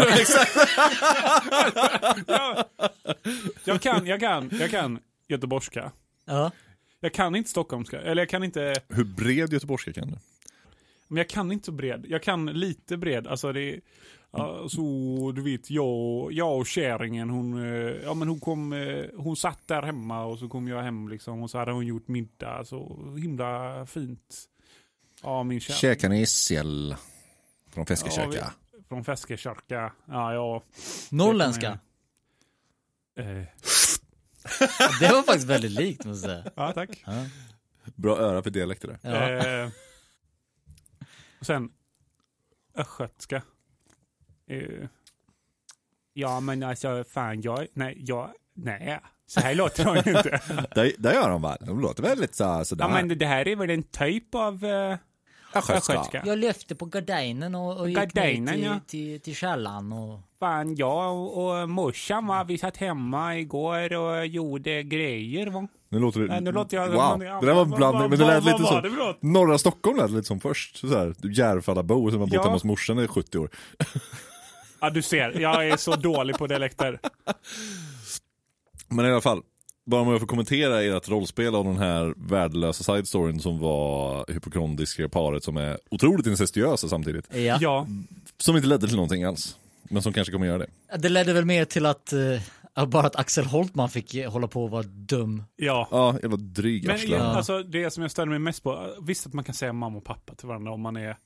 S2: jag, jag kan, jag kan, jag kan göteborgska.
S1: Ja.
S2: Jag kan inte stockholmska, eller jag kan inte,
S3: Hur bred göteborgska kan du?
S2: men jag kan inte så bred. Jag kan lite bred, alltså det ja, så du vet, jag, jag och kärringen hon, eh, ja men hon kom, eh, hon satt där hemma och så kom jag hem liksom och så hade hon gjort middag, så himla fint. Ja min kärring.
S3: ni sill? Från
S2: Feskekärka. Från Feskekörka. Ja, ja.
S1: Norrländska.
S2: Eh,
S1: Det var faktiskt väldigt likt måste jag säga.
S2: ja, tack.
S1: Ja.
S3: Bra öra för dialekter där.
S1: Ja.
S2: Eh, och sen östgötska. Eh, ja, men alltså fan, jag, nej, jag, nej, så här låter jag ju (laughs) inte.
S3: Där, där gör de va? De låter väldigt så, sådär.
S2: ja, men det här är väl en typ av eh, östgötska.
S1: Jag lyfte på gardinen och, och gick ner
S2: Gardinen,
S1: till,
S2: ja.
S1: till, till källaren och...
S2: Fan, jag och, och morsan, va, vi satt hemma igår och gjorde grejer, va.
S3: Nu låter det...
S2: Nej, nu låter jag-
S3: Wow,
S2: Ja,
S3: det där var
S2: vad-
S3: bland...
S2: vad-
S3: Men det lät
S2: vad-
S3: lite
S2: vad var det för
S3: som...
S2: låt?
S3: Norra Stockholm lät lite som först. Så här, Järfallabo, som har bott
S2: Ja.
S3: hemma hos morsan i 70 år.
S2: Ja, du ser, jag är så dålig på dialekter.
S3: Men i alla fall, bara om jag får kommentera ert rollspel av den här värdelösa side storyn som var hypokondriska paret som är otroligt incestuösa samtidigt.
S1: Ja.
S2: Ja,
S3: Som inte ledde till någonting alls. Men som kanske kommer göra det.
S1: Det ledde väl mer till att eh, bara att Axel Holtman fick eh, hålla på och vara dum.
S2: Ja.
S3: Ja, jag var dryg
S2: Men
S3: arsle.
S2: igen,
S1: Ja.
S2: alltså, det som jag störde mig mest på, visst att man kan säga mamma och pappa till varandra om man är,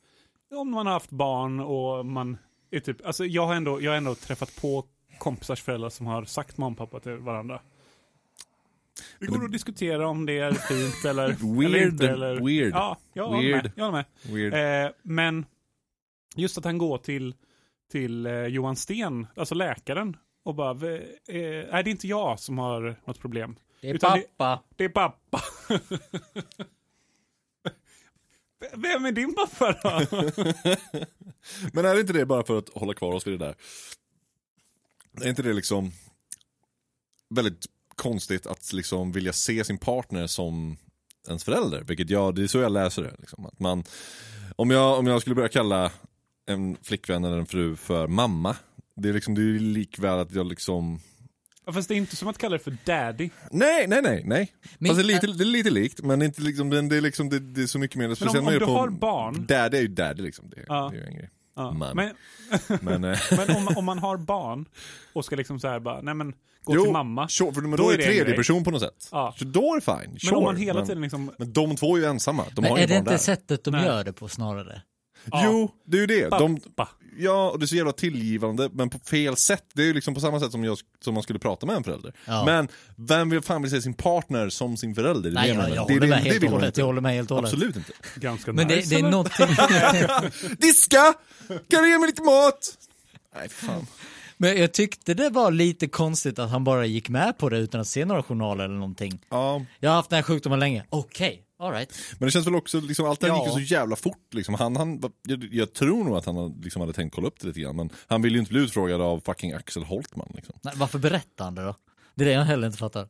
S2: om man har haft barn och man är typ, alltså jag har ändå, jag har ändå träffat på kompisars föräldrar som har sagt mamma och pappa till varandra. Det går att diskutera om det är fint eller, eller
S3: (laughs) Weird,
S2: inte. Eller,
S3: weird.
S2: Ja, jag håller
S3: Weird.
S2: med. Jag håller
S3: Weird.
S2: med. Eh, men just att han går till, till eh, Johan Sten, alltså läkaren, och bara, "V- eh, nej det är inte jag som har något problem.
S1: Det är
S2: Utan det-
S1: pappa.
S2: Det är pappa. (laughs) Vem är din pappa då?
S3: Men är inte det bara för att hålla kvar oss vid det där? Är inte det liksom väldigt konstigt att liksom vilja se sin partner som ens förälder? Vilket jag, det är så jag läser det. Liksom. Att man, om, jag, om jag skulle börja kalla en flickvän eller en fru för mamma, det är liksom, det är ju likväl att jag liksom
S2: Ja, Fast det är inte som att kalla det för daddy.
S3: Nej, nej, nej, nej.
S1: Men-
S3: Fast det är lite, det är lite likt, men inte liksom, det, det är liksom, det, det är så mycket mer. speciellt
S2: om
S3: när jag
S2: du
S3: är på-
S2: har barn-
S3: Daddy är ju daddy liksom. Det,
S2: Ja.
S3: det är ju en grej.
S2: Ja.
S3: Man.
S2: Men, (laughs)
S3: Men, eh,
S2: men om, om man har barn och ska liksom så här bara, nej men gå
S3: jo,
S2: till mamma.
S3: Sure, för men
S2: Då
S3: då,
S2: är
S3: är
S2: det
S3: det
S2: en
S3: tredje
S2: grej.
S3: person på något sätt.
S2: Ja.
S3: Så då är det fine, sure.
S2: men om man hela
S3: men,
S2: tiden liksom,
S3: men de två är ju ensamma, de
S1: Men
S3: har ju
S1: är det
S3: barn
S1: inte
S3: där.
S1: sättet de
S2: Nej.
S1: gör det på snarare?
S2: Ja.
S3: Jo, det är ju det. De,
S2: pappa.
S3: ja, och det är så jävla tillgivande, men på fel sätt. Det är ju liksom på samma sätt som, jag, som man skulle prata med en förälder.
S1: Ja.
S3: Men vem vill fan vill se sin partner som sin förälder? Det är
S1: Nej,
S3: det
S1: jag,
S3: menar.
S1: jag
S3: Det är
S1: håller med
S3: det- det
S1: helt
S3: vill
S1: och
S3: man
S1: hållet.
S3: inte.
S1: Jag håller med helt och hållet.
S3: Absolut inte.
S2: Ganska
S1: Men det,
S2: nice.
S1: det är
S2: eller?
S1: någonting,
S3: Diska! Kan du ge mig lite mat? Nej, fan.
S1: (laughs) men jag tyckte det var lite konstigt att han bara gick med på det utan att se några journaler eller någonting.
S3: Ja,
S1: Jag har haft den här sjukdomen länge. Okej, all alright.
S3: men det känns väl också, liksom, allt det här
S2: Ja.
S3: gick ju så jävla fort. Liksom. Han, han, jag, jag tror nog att han liksom hade tänkt kolla upp det lite grann, men han ville ju inte bli utfrågad av fucking Axel Holtman. Liksom.
S1: Nej, Varför berättar han det då? Det är det jag heller inte fattar.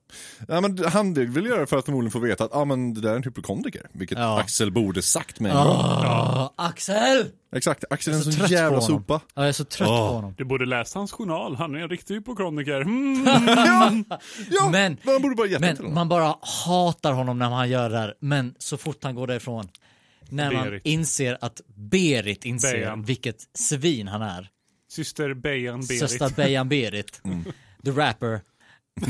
S3: Ja, men han ville göra det för att förmodligen få veta att ah, men det där är en hypokondriker, vilket
S1: Ja.
S3: Axel borde sagt med en gång.
S1: Åh, Ah, Axel!
S3: Exakt, Axel Ah. är en
S1: Jag är så trött
S3: sån
S1: på
S3: jävla
S1: honom.
S3: sopa. Ah.
S1: Ja, jag är så trött på honom.
S2: Du borde läsa hans journal, han är en riktig hypokondriker. Mm.
S3: ja, ja,
S1: Men-
S3: men, man borde bara gett den till
S1: Men
S3: honom.
S1: man bara hatar honom när han gör det här. Men så fort han går därifrån. När man
S2: Berit.
S1: inser att Berit inser
S2: Bejan.
S1: vilket svin han är.
S2: Syster Bejan Berit.
S1: Sösta Bejan Berit.
S3: Mm.
S1: The rapper.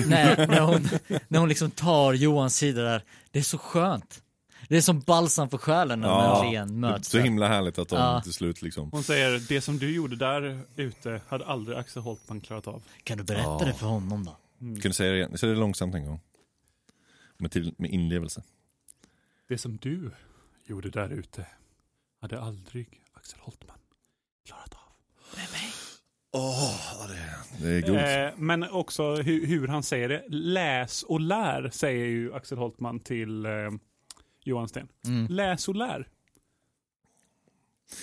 S1: när, när, hon, när hon liksom tar Johans sida där. Det är så skönt. Det är som balsam för själen när
S3: Ja,
S1: de igen
S3: Det är
S1: möts.
S3: så
S1: där.
S3: himla härligt att de
S1: Ja.
S3: till slut liksom...
S2: Hon säger, det som du gjorde där ute hade aldrig Axel Holtman klarat av.
S1: Kan du berätta det för honom då?
S3: Kan du säga det igen? Säg det långsamt en gång. Med, till, med inlevelse.
S2: Det som du gjorde där ute hade aldrig Axel Holtman klarat av.
S3: Åh, det, det är guld.
S2: Eh, men också hu hur han säger det. Läs och lär, säger ju Axel Holtman till eh, Johan Sten.
S3: Mm.
S2: Läs och lär.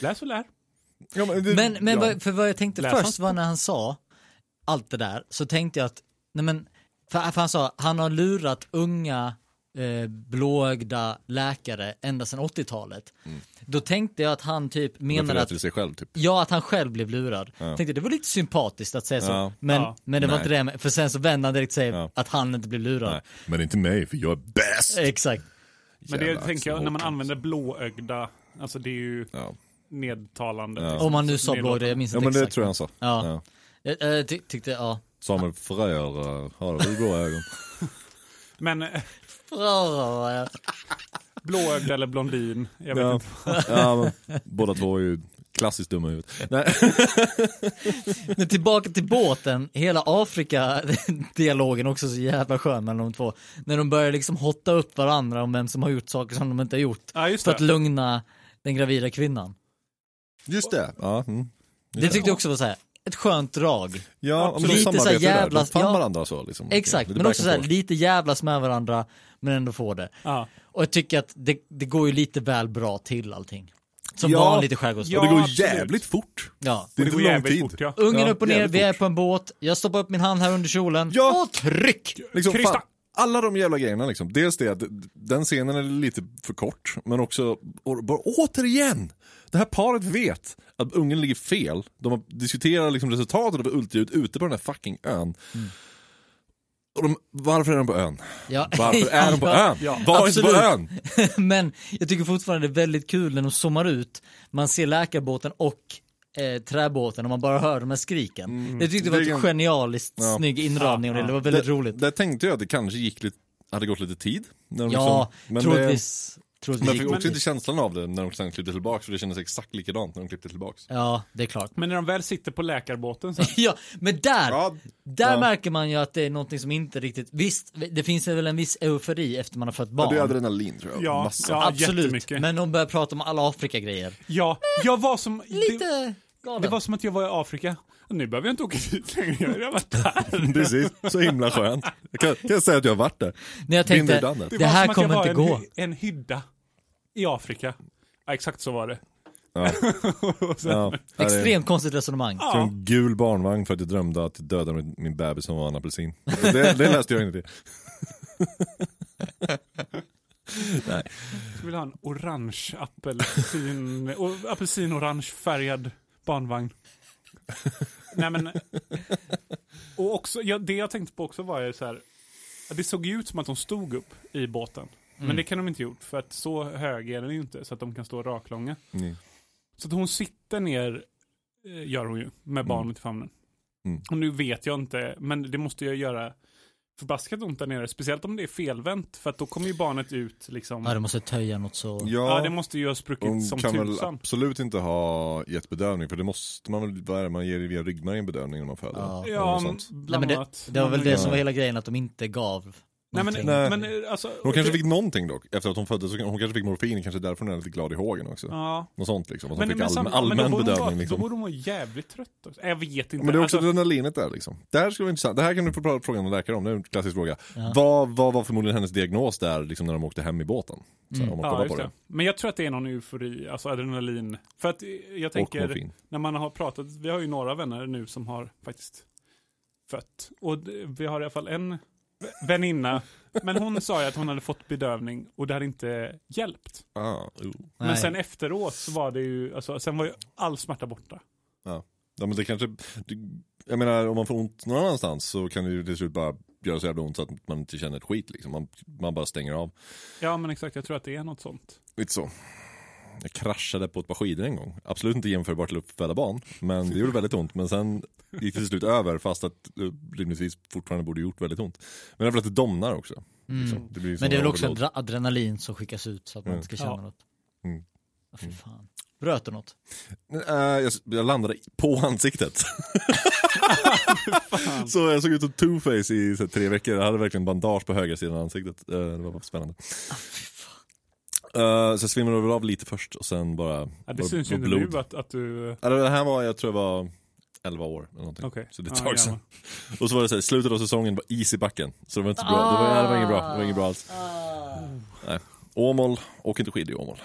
S2: Läs och lär.
S3: Ja, det-
S1: Men, men
S3: ja.
S1: vad, för vad jag tänkte
S2: Läs
S1: först
S2: hans
S1: var när han sa allt det där, så tänkte jag att, nej men, för, för han sa, han har lurat unga eh, blåögda läkare ända sedan 80-talet.
S3: Mm.
S1: Då tänkte jag att han typ
S3: menar
S1: menade
S3: att...
S1: att,
S3: till sig själv typ.
S1: ja att han själv blev lurad. Tänkte det var lite sympatiskt att säga så,
S3: Ja.
S1: men,
S2: Ja.
S1: men det var
S3: Nej.
S1: inte det, med- för sen så vände han direkt och säger
S3: Ja.
S1: att han inte blev lurad.
S3: Nej, men inte mig, för jag är
S1: Eh,
S3: bäst!
S1: Exakt.
S2: Men det
S3: Jävla
S2: tänker jag,
S3: Axel
S2: när man
S3: Holtman.
S2: använder blåögda, alltså det är ju
S3: Ja.
S2: nedtalande.
S3: Ja.
S1: Om man nu sa blå,
S2: Nedlåtande.
S1: jag minns
S3: ja,
S1: inte
S3: men det
S1: exakt.
S3: tror jag han sa.
S1: Ja.
S3: Ja.
S1: Jag, jag ty- tyckte, ja.
S3: Samuel Fröjer, eh, har du blå ögon?
S2: Men eh,
S1: Bra,
S2: blåögd eller blondin, jag vet
S3: (laughs) ja.
S2: inte.
S3: ja, men båda två är ju klassiskt dumma i huvudet. Nej.
S1: Men tillbaka till båten, hela Afrika-dialogen också så jävla skön mellan de två. När de börjar liksom hotta upp varandra om vem som har gjort saker som de inte har gjort.
S2: Ja, just
S1: För att
S2: det.
S1: lugna den gravida kvinnan.
S3: (laughs) Just det. Ja, mm.
S1: Det tyckte jag också var så här, ett skönt drag.
S3: ja men de
S1: Lite så
S3: samarbetar ju
S1: jävla-
S3: där. De fann
S1: ja.
S3: varandra så liksom.
S1: Exakt,
S3: Det
S1: men
S3: back
S1: också
S3: and
S1: så här,
S3: forth.
S1: lite jävlas med varandra men ändå få det.
S2: Ja.
S1: Och jag tycker att det, det går ju lite väl bra till allting. Som
S3: Ja.
S1: vanligt i skärgårdsbåt.
S3: Och det
S2: Ja,
S3: går
S2: absolut.
S3: jävligt fort.
S1: Ja.
S3: Det är
S2: Det
S3: inte
S2: går
S3: lång
S2: jävligt
S3: tid.
S2: fort ja.
S1: Ungen
S3: Ja,
S1: upp och ner,
S3: jävligt
S1: vi är
S3: fort.
S1: på en båt, jag stoppar upp min hand här under kjolen
S3: Ja.
S1: och tryck!
S3: Liksom,
S2: Krista!
S3: fan, alla de jävla grejerna liksom. Dels det att den scenen är lite för kort, men också, och, bara, återigen! Det här paret vet att ungen ligger fel. De har- diskuterar liksom resultatet av ultraljudet ute på den här fucking ön. Mm. Och de, varför är de på ön?
S1: Ja. (laughs)
S3: Varför är de på ön?
S2: Ja.
S3: Var inte på
S1: Absolut.
S3: ön!
S1: (laughs) Men jag tycker fortfarande det är väldigt kul när de zoomar ut, man ser läkarbåten och eh, träbåten och man bara hör de här skriken. Jag tyckte det var
S3: Mm. Det är
S1: ett
S3: ju-
S1: genialiskt
S3: Ja.
S1: snygg inramning och det, det var väldigt
S3: Där-
S1: roligt.
S3: Där tänkte jag att det kanske gick lite, hade gått lite tid. När de
S1: ja,
S3: liksom, men
S1: troligtvis.
S3: Det, men
S1: troligtvis
S3: jag fick
S1: gick
S3: också
S1: det.
S3: inte känslan av det när de sen klippte tillbaka, för det kändes exakt likadant när de klippte tillbaka.
S1: Ja, det är klart. (laughs)
S2: Men när de väl sitter på läkarbåten så
S1: Ja, men där,
S3: Ja,
S1: där
S3: ja.
S1: märker man ju att det är någonting som inte riktigt, visst, det finns väl en viss eufori efter man har fått barn.
S3: Det är adrenalin tror jag.
S2: Ja,
S3: Massa.
S2: ja.
S1: Absolut,
S2: jättemycket.
S1: men de börjar prata om alla Afrika-grejer.
S2: Ja, jag var som...
S1: Lite
S2: Det,
S1: galen.
S2: det var som att jag var i Afrika. Nu behöver jag inte åka dit längre, jag har redan varit
S1: (laughs)
S2: där.
S3: (laughs) Precis, så himla skönt. Jag kan, kan jag säga att jag har varit där.
S1: När jag
S3: Binder
S1: tänkte,
S3: i landet.
S1: det,
S2: var
S1: här
S2: som att
S1: kommer
S2: jag
S1: inte
S2: var
S1: gå.
S2: en, en hydda i Afrika. Ja, exakt så var det.
S3: Ja.
S2: Och sen,
S3: Ja. Ja, det är-
S1: Extremt konstigt resonemang.
S3: Jag tog en gul barnvagn för att jag drömde att jag dödade min, min bebis som var en apelsin. Det, det läste jag inte.
S2: Jag vill ha en orange apelsin,
S1: (laughs)
S2: o- apelsin-orange färgad barnvagn. Nej men, och också, ja, det jag tänkte på också var ju så här, att det såg ju ut som att de stod upp i båten.
S1: Mm.
S2: Men det kan de inte gjort, för att så hög är den ju inte, så att de kan stå raklånga.
S3: Nej.
S2: Så att hon sitter ner, eh, gör hon ju, med barnet i famnen.
S3: Mm.
S2: Och nu vet jag inte, men det måste jag göra förbaskat ont där nere, speciellt om det är felvänt, för att då kommer ju barnet ut liksom.
S1: Ja, du måste töja något så.
S3: Ja,
S2: Ja, det måste ju ha spruckit
S3: hon
S2: som
S3: kan väl
S2: tusan.
S3: absolut inte ha gett bedövning för det måste man väl, vad är det, man ger via ryggmärgen bedövning när man föder?
S1: Ja.
S2: Ja,
S3: något sånt.
S1: Nej,
S2: bland
S1: men det,
S2: annat.
S1: det var väl
S2: Men-
S1: det som var hela grejen, att de inte gav
S2: Nej, men,
S1: någonting.
S3: Nej.
S2: men alltså...
S3: Hon kanske fick någonting dock, efter att hon föddes, så hon kanske fick morfin, kanske därför hon är lite glad i hågen också.
S2: Ja.
S3: Något sånt liksom, att
S2: Men,
S3: hon fick
S2: men, sam-
S3: allmän,
S2: men
S3: allmän
S2: då borde hon vara-
S3: bedövning
S2: Då
S3: liksom.
S2: borde hon vara jävligt trött också. Jag vet inte.
S3: Men det är också
S2: alltså,
S3: adrenalinet där liksom. Det här skulle vara intressant, det här kan du få prata- fråga en läkare om, det är en klassisk fråga. Vad, vad var förmodligen hennes diagnos där liksom när de åkte hem i båten? Så
S1: Mm.
S3: här, Om
S2: Mm.
S3: man
S2: ja,
S3: kollar
S2: just
S3: på
S2: det.
S3: det.
S2: Men jag tror att det är någon eufori, alltså adrenalin. För att eh, jag tänker,
S3: morfin.
S2: när man har pratat, vi har ju några vänner nu som har faktiskt fött. Och d- vi har i alla fall en v- väninna, men hon sa ju att hon hade fått bedövning och det hade inte hjälpt.
S3: Ah, jo.
S1: Nej.
S2: Men sen efteråt så var det ju, alltså, sen var ju all smärta borta.
S3: Ja men det kanske, det, jag menar om man får ont någon annanstans så kan det ju till slut bara göra så jävla ont så att man inte känner ett skit liksom. Man, man bara stänger av.
S2: Ja men exakt, jag tror att det är något sånt.
S3: Lite så. Jag kraschade på ett par skidor en gång. Absolut inte jämförbart till att uppföda barn, men det gjorde väldigt ont. Men sen gick det till slut över, fast att eh, rimligtvis fortfarande borde gjort väldigt ont. Men det är väl att det domnar också. liksom. Det blir ju
S1: Mm. Men det är
S3: sån
S1: väl också
S3: overload.
S1: adre- adrenalin som skickas ut så att man inte ska känna
S2: Ja.
S1: något.
S3: Mm.
S1: Ja, fy fan. Bröt du något?
S3: Nej, eh, jag, jag landade på
S2: (laughs)
S3: ansiktet. så jag såg ut som two-face i så här, tre veckor. Jag hade verkligen bandage på höger sidan av ansiktet. Eh, det var spännande.
S1: Ah,
S3: Eh, så jag svimmade väl av lite först och sen bara...
S2: Ja, det
S3: var-
S2: syns ju
S3: var
S2: inte
S3: blod.
S2: nu att, att du...
S3: Ja, Det här var, jag tror jag var 11 år eller någonting.
S2: Okej.
S3: Så det är
S2: Ja,
S3: ett tag sedan.
S2: gammal.
S3: Och så var det så här, slutet av säsongen var is i backen. Så det var inte bra. Det, var, nej, det var inget bra. Det var inget bra alls. Nej. Åmål, åk inte skidor i Åmål.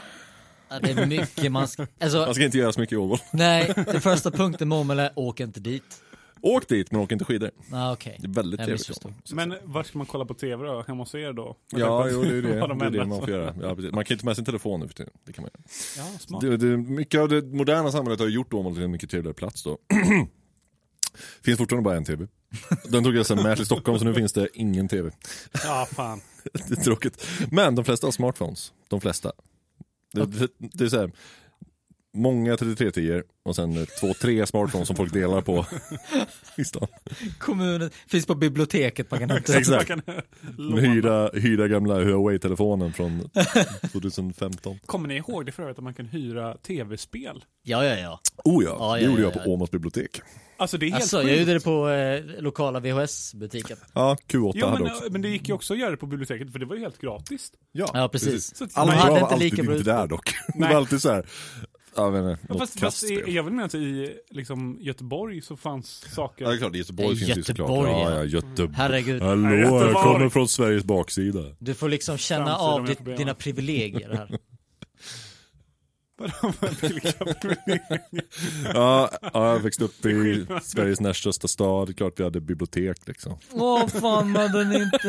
S1: Ja, det är mycket man ska...
S3: Man
S1: Alltså,
S3: ska inte göra så mycket i Åmål.
S1: nej, den första punkten med Åmål är åk inte dit.
S3: Åk dit men åk inte skidor.
S1: Ah, okej.
S3: Det är väldigt
S1: Jag
S3: trevligt. i
S1: missförstod.
S3: Åmål.
S2: Men var ska man kolla på tv då? Hemma hos er då?
S3: Ja, jo, det
S2: (laughs)
S3: är ju det.
S2: Vad de
S3: Det är det
S2: menar.
S3: man får göra. Ja, precis. man kan ju inte ta med sin telefon nu för tiden. Det kan man göra.
S2: Ja, smart.
S3: Det, det, mycket av det moderna samhället har ju gjort Åmål till en mycket trevligare plats då. (clears throat) finns fortfarande bara en TV. Den tog jag sen med till Stockholm så nu finns det ingen TV.
S2: Ja, fan.
S3: (laughs) Det är tråkigt. Men de flesta har smartphones. De flesta. Det, det, det är så här, många 3310 och sen eh, två, tre smartphones som folk delar på (laughs) i stan.
S1: Kommunen, finns på biblioteket man kan hämta.
S3: (laughs) Exakt.
S2: Man kan (laughs) låna.
S3: Hyra, hyra gamla Huawei-telefonen från 2015.
S2: Kommer ni ihåg det för övrigt att man kan hyra tv-spel?
S1: Ja, ja, ja.
S3: Oh ja,
S1: Ja,
S3: det
S1: ja,
S3: gjorde
S1: ja,
S3: jag på
S1: ja.
S3: Åmåls bibliotek.
S2: Alltså det är helt
S1: Alltså,
S2: sjukt.
S1: jag gjorde det på eh, lokala VHS-butiken.
S3: Ja, Q8
S2: Jo,
S3: hade
S2: men,
S3: också.
S2: men det gick ju också att göra det på biblioteket för det var ju helt gratis.
S1: Ja, precis.
S2: Så att-
S3: Alla
S1: Man hade
S3: jag var
S1: inte
S3: alltid
S1: lika
S3: inte
S1: bra
S3: där dock. det
S2: Nej.
S3: var alltid så här, jag vet inte, något
S2: Fast, fast
S3: kastspel.
S2: i- jag vill mena att i liksom, Göteborg så fanns saker.
S3: Ja, det är klart, Göteborg finns det ju såklart.
S1: Göteborg, ja.
S3: Ja, ja, Göteborg.
S1: Herregud.
S3: Hallå,
S2: Göteborg.
S3: jag kommer från Sveriges baksida.
S1: Du får liksom känna
S2: Framtida
S1: av
S2: med
S1: ditt,
S2: problem.
S1: dina privilegier här.
S3: (laughs) Ja, ja, jag växte
S2: (laughs)
S3: upp i Sveriges näst största stad. Det är klart vi hade bibliotek liksom.
S1: (laughs) Åh fan, man den inte...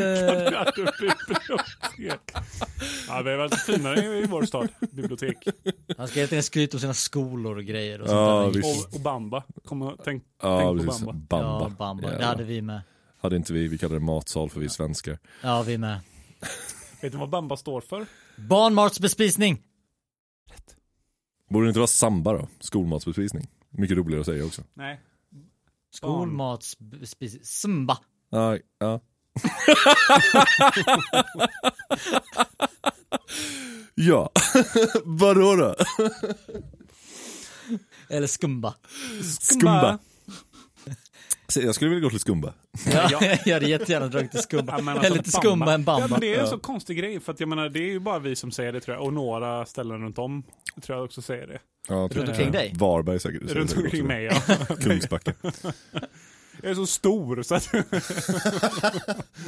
S2: Ja, det är bibliotek. Ja, det var lite finare i i vår stad,
S1: (laughs)
S2: bibliotek.
S1: (laughs) Han ska helt enkelt skryta om sina skolor och grejer och sånt
S3: Ja,
S1: där.
S3: visst.
S2: Och, och Bamba. Kom och tänk,
S3: Ja,
S2: tänk på
S3: precis.
S2: Bamba.
S3: Bamba.
S1: Ja, Bamba. Det
S3: Jävlar.
S1: hade vi med.
S3: Hade inte vi, vi kallade det matsal för vi är svenskar.
S1: Ja, vi med.
S2: Vet du vad Bamba står för?
S1: Barnmatsbespisning!
S3: Borde det inte vara samba då? Skolmatsbespisning. Mycket roligare att säga också.
S2: Nej.
S1: Skolmatsspecifikt. Smba.
S3: Ja, ja. (laughs) ja, (laughs) vadå då?
S1: Eller skumba.
S3: Skumba. Se, Jag skulle vilja gå till Skumba.
S1: Ja. (laughs) jag hade jättegärna dragit till skumba.
S2: Ja, men alltså,
S1: Eller till skumba än
S2: Ja,
S1: bamba.
S2: men det är en så konstig grej, för att jag menar, det är ju bara vi som säger det tror jag, och några ställen runt om tror jag också säger det.
S3: Ja, typ.
S1: Runt omkring dig?
S3: Varberg säkert. säger
S2: runt
S3: säkert
S2: omkring
S3: också.
S2: mig, ja. (laughs)
S3: Kungsbacka.
S2: Jag är så stor så att... (laughs)